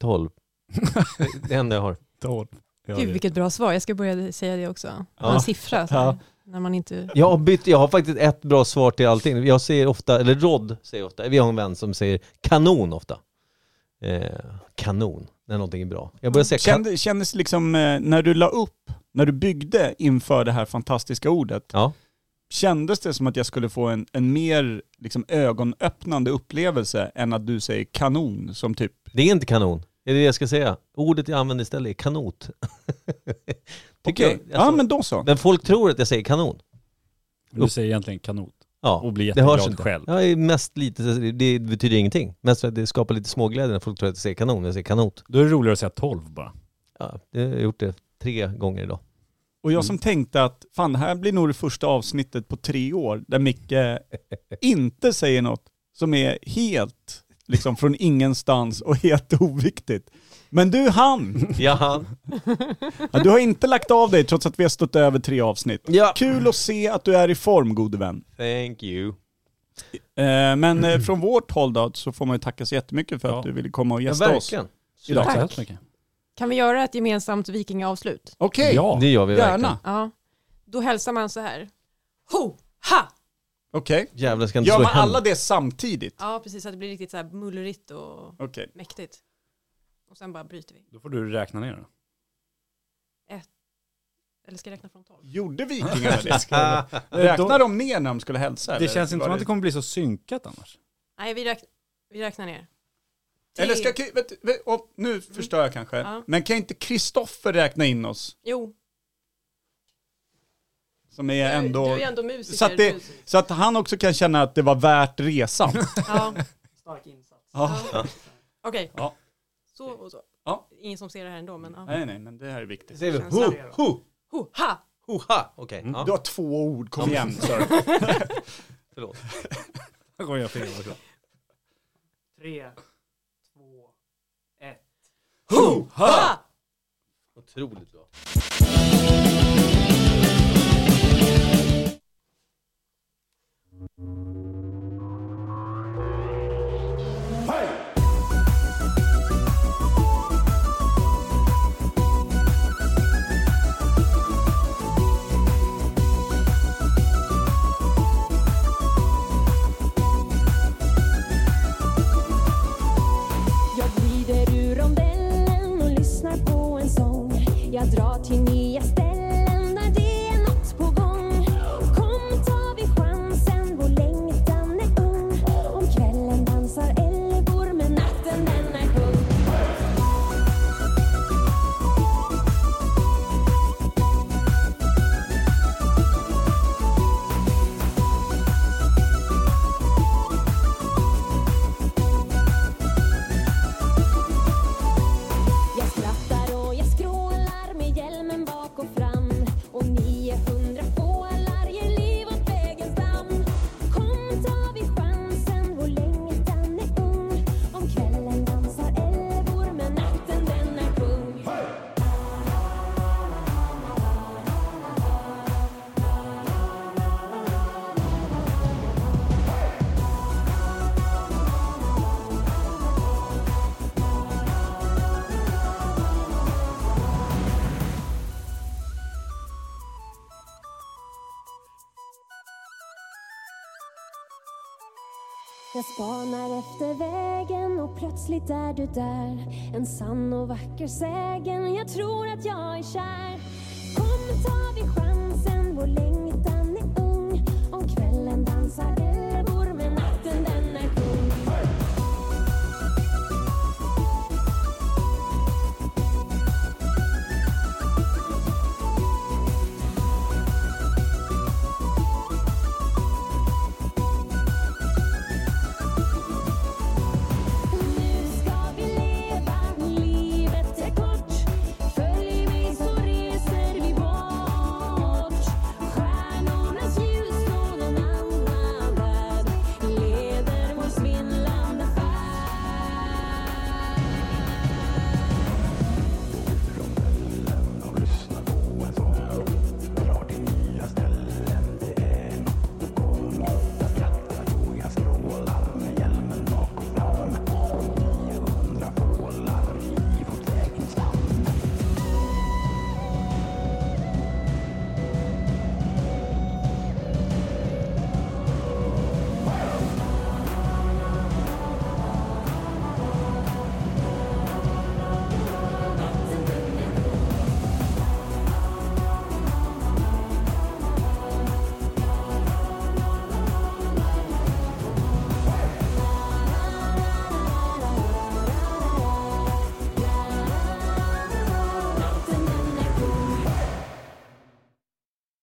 [SPEAKER 3] 12. Det- Det enda jag har.
[SPEAKER 2] Tolv. Ja,
[SPEAKER 5] Gud
[SPEAKER 2] det-
[SPEAKER 5] vilket bra svar, jag ska börja säga det också.
[SPEAKER 3] Ja.
[SPEAKER 5] Ja. En siffra, så här, när man inte...
[SPEAKER 3] Jag har, bytt, jag har faktiskt ett bra svar till allting. Jag säger ofta, eller Rod säger ofta, vi har en vän som säger kanon ofta. Eh, kanon, när någonting är bra. Jag börjar säga kan...
[SPEAKER 1] Kände, kändes liksom eh, när du la upp, när du byggde inför det här fantastiska ordet,
[SPEAKER 3] Ja.
[SPEAKER 1] kändes det som att jag skulle få en, en mer liksom, ögonöppnande upplevelse än att du säger kanon som typ
[SPEAKER 3] Det är inte kanon, det är det jag ska säga. Ordet jag använder istället är kanot. Tycker
[SPEAKER 1] okej.
[SPEAKER 3] jag. Alltså,
[SPEAKER 1] ja men då så.
[SPEAKER 3] men folk tror att jag säger kanon.
[SPEAKER 2] Du säger egentligen kanot.
[SPEAKER 3] Ja,
[SPEAKER 2] Och blir
[SPEAKER 3] det hörs
[SPEAKER 2] jätteglad
[SPEAKER 3] inte.
[SPEAKER 2] själv.
[SPEAKER 3] Jag är mest lite, det betyder ingenting. Mest för att det skapar lite småglädje när folk tror att jag säger kanon, jag säger kanot.
[SPEAKER 2] Då är det roligare att säga 12 bara.
[SPEAKER 3] Ja, jag har gjort det tre gånger idag.
[SPEAKER 1] Och jag som
[SPEAKER 3] Mm.
[SPEAKER 1] tänkte att fan det här blir nog det första avsnittet på tre år där Micke inte säger något som är helt liksom från ingenstans och helt oviktigt. Men du han!
[SPEAKER 3] Ja,
[SPEAKER 1] Ja, Du har inte lagt av dig trots att vi har stått över tre avsnitt.
[SPEAKER 3] ja.
[SPEAKER 1] Kul att se att du är i form gode vän.
[SPEAKER 3] Thank you.
[SPEAKER 1] Eh, Men eh, från vårt håll då så får man ju tacka så jättemycket för att
[SPEAKER 2] Ja.
[SPEAKER 1] du ville komma och
[SPEAKER 3] Mm. Ja,
[SPEAKER 1] gästa oss.
[SPEAKER 3] verkligen.
[SPEAKER 1] Idag.
[SPEAKER 2] Tack så
[SPEAKER 1] Tack.
[SPEAKER 2] hemskt mycket.
[SPEAKER 5] Kan vi göra ett gemensamt vikingavslut?
[SPEAKER 1] Okej,
[SPEAKER 2] Ja.
[SPEAKER 3] Det gör vi verkligen.
[SPEAKER 1] gärna.
[SPEAKER 5] Ja. Då hälsar man så här. Ho! Ha!
[SPEAKER 1] Okej.
[SPEAKER 3] Jävlar ska inte
[SPEAKER 1] Gör
[SPEAKER 3] slå i
[SPEAKER 1] man alla
[SPEAKER 3] händerna.
[SPEAKER 1] det samtidigt?
[SPEAKER 5] Ja, precis, så att det blir riktigt så här mullrigt och
[SPEAKER 1] Okej.
[SPEAKER 5] mäktigt. Och sen bara bryter vi.
[SPEAKER 2] Då får du räkna ner den.
[SPEAKER 5] Eller ska jag räkna från tolv?
[SPEAKER 1] Gjorde vikingarna det?
[SPEAKER 3] Ah,
[SPEAKER 1] Räknar de ner när de skulle hälsa?
[SPEAKER 2] Det
[SPEAKER 1] eller?
[SPEAKER 2] känns inte
[SPEAKER 1] Var
[SPEAKER 2] som att det kommer bli så synkat annars.
[SPEAKER 5] Nej, vi, räkn- vi räknar ner. Tre.
[SPEAKER 1] Eller ska, Ki- vet, vet, och nu förstör jag kanske,
[SPEAKER 5] Ja.
[SPEAKER 1] men kan inte Kristoffer räkna in oss?
[SPEAKER 5] Jo,
[SPEAKER 1] Som är
[SPEAKER 5] du,
[SPEAKER 1] ändå...
[SPEAKER 5] du är ändå musiker.
[SPEAKER 1] så, att det,
[SPEAKER 5] du-
[SPEAKER 1] så att han också kan känna att det var värt resan.
[SPEAKER 5] Ja,
[SPEAKER 9] Stark insats.
[SPEAKER 1] ja.
[SPEAKER 5] okej.
[SPEAKER 1] Ja.
[SPEAKER 5] Så och så.
[SPEAKER 1] Ja.
[SPEAKER 5] Ingen som ser det här ändå, men ja.
[SPEAKER 1] Nej, nej, men det här är
[SPEAKER 3] Det
[SPEAKER 1] viktigt.
[SPEAKER 3] säger vi
[SPEAKER 9] Känslan
[SPEAKER 3] ho,
[SPEAKER 9] är det.
[SPEAKER 3] ho,
[SPEAKER 5] Ho, ha!
[SPEAKER 3] ho-ha. Okej,
[SPEAKER 2] Mm.
[SPEAKER 3] ja.
[SPEAKER 1] Du har två ord, kom igen. Sir.
[SPEAKER 3] förlåt.
[SPEAKER 2] Då kommer jag fel.
[SPEAKER 9] Tre, två, ett.
[SPEAKER 3] Ho,
[SPEAKER 5] ha!
[SPEAKER 3] Otroligt bra.
[SPEAKER 4] Jag glider ur rondellen och lyssnar på en sång. Jag drar till nya ställen där det är något på gång. Kom, tar vi chansen, vår längtan är ung. Om kvällen dansar älvor, men natten den är kung. Jag skrattar och jag skrålar med hjälmen bak och fram Och 900 fålar ger liv åt vägens damm Kom, tar vi chansen, vår längtan är ung Om kvällen dansar älvor, men natten den är kung Jag spanar efter vägen och plötsligt är du där En sann och vacker sägen, jag tror att jag är kär Kom, tar vi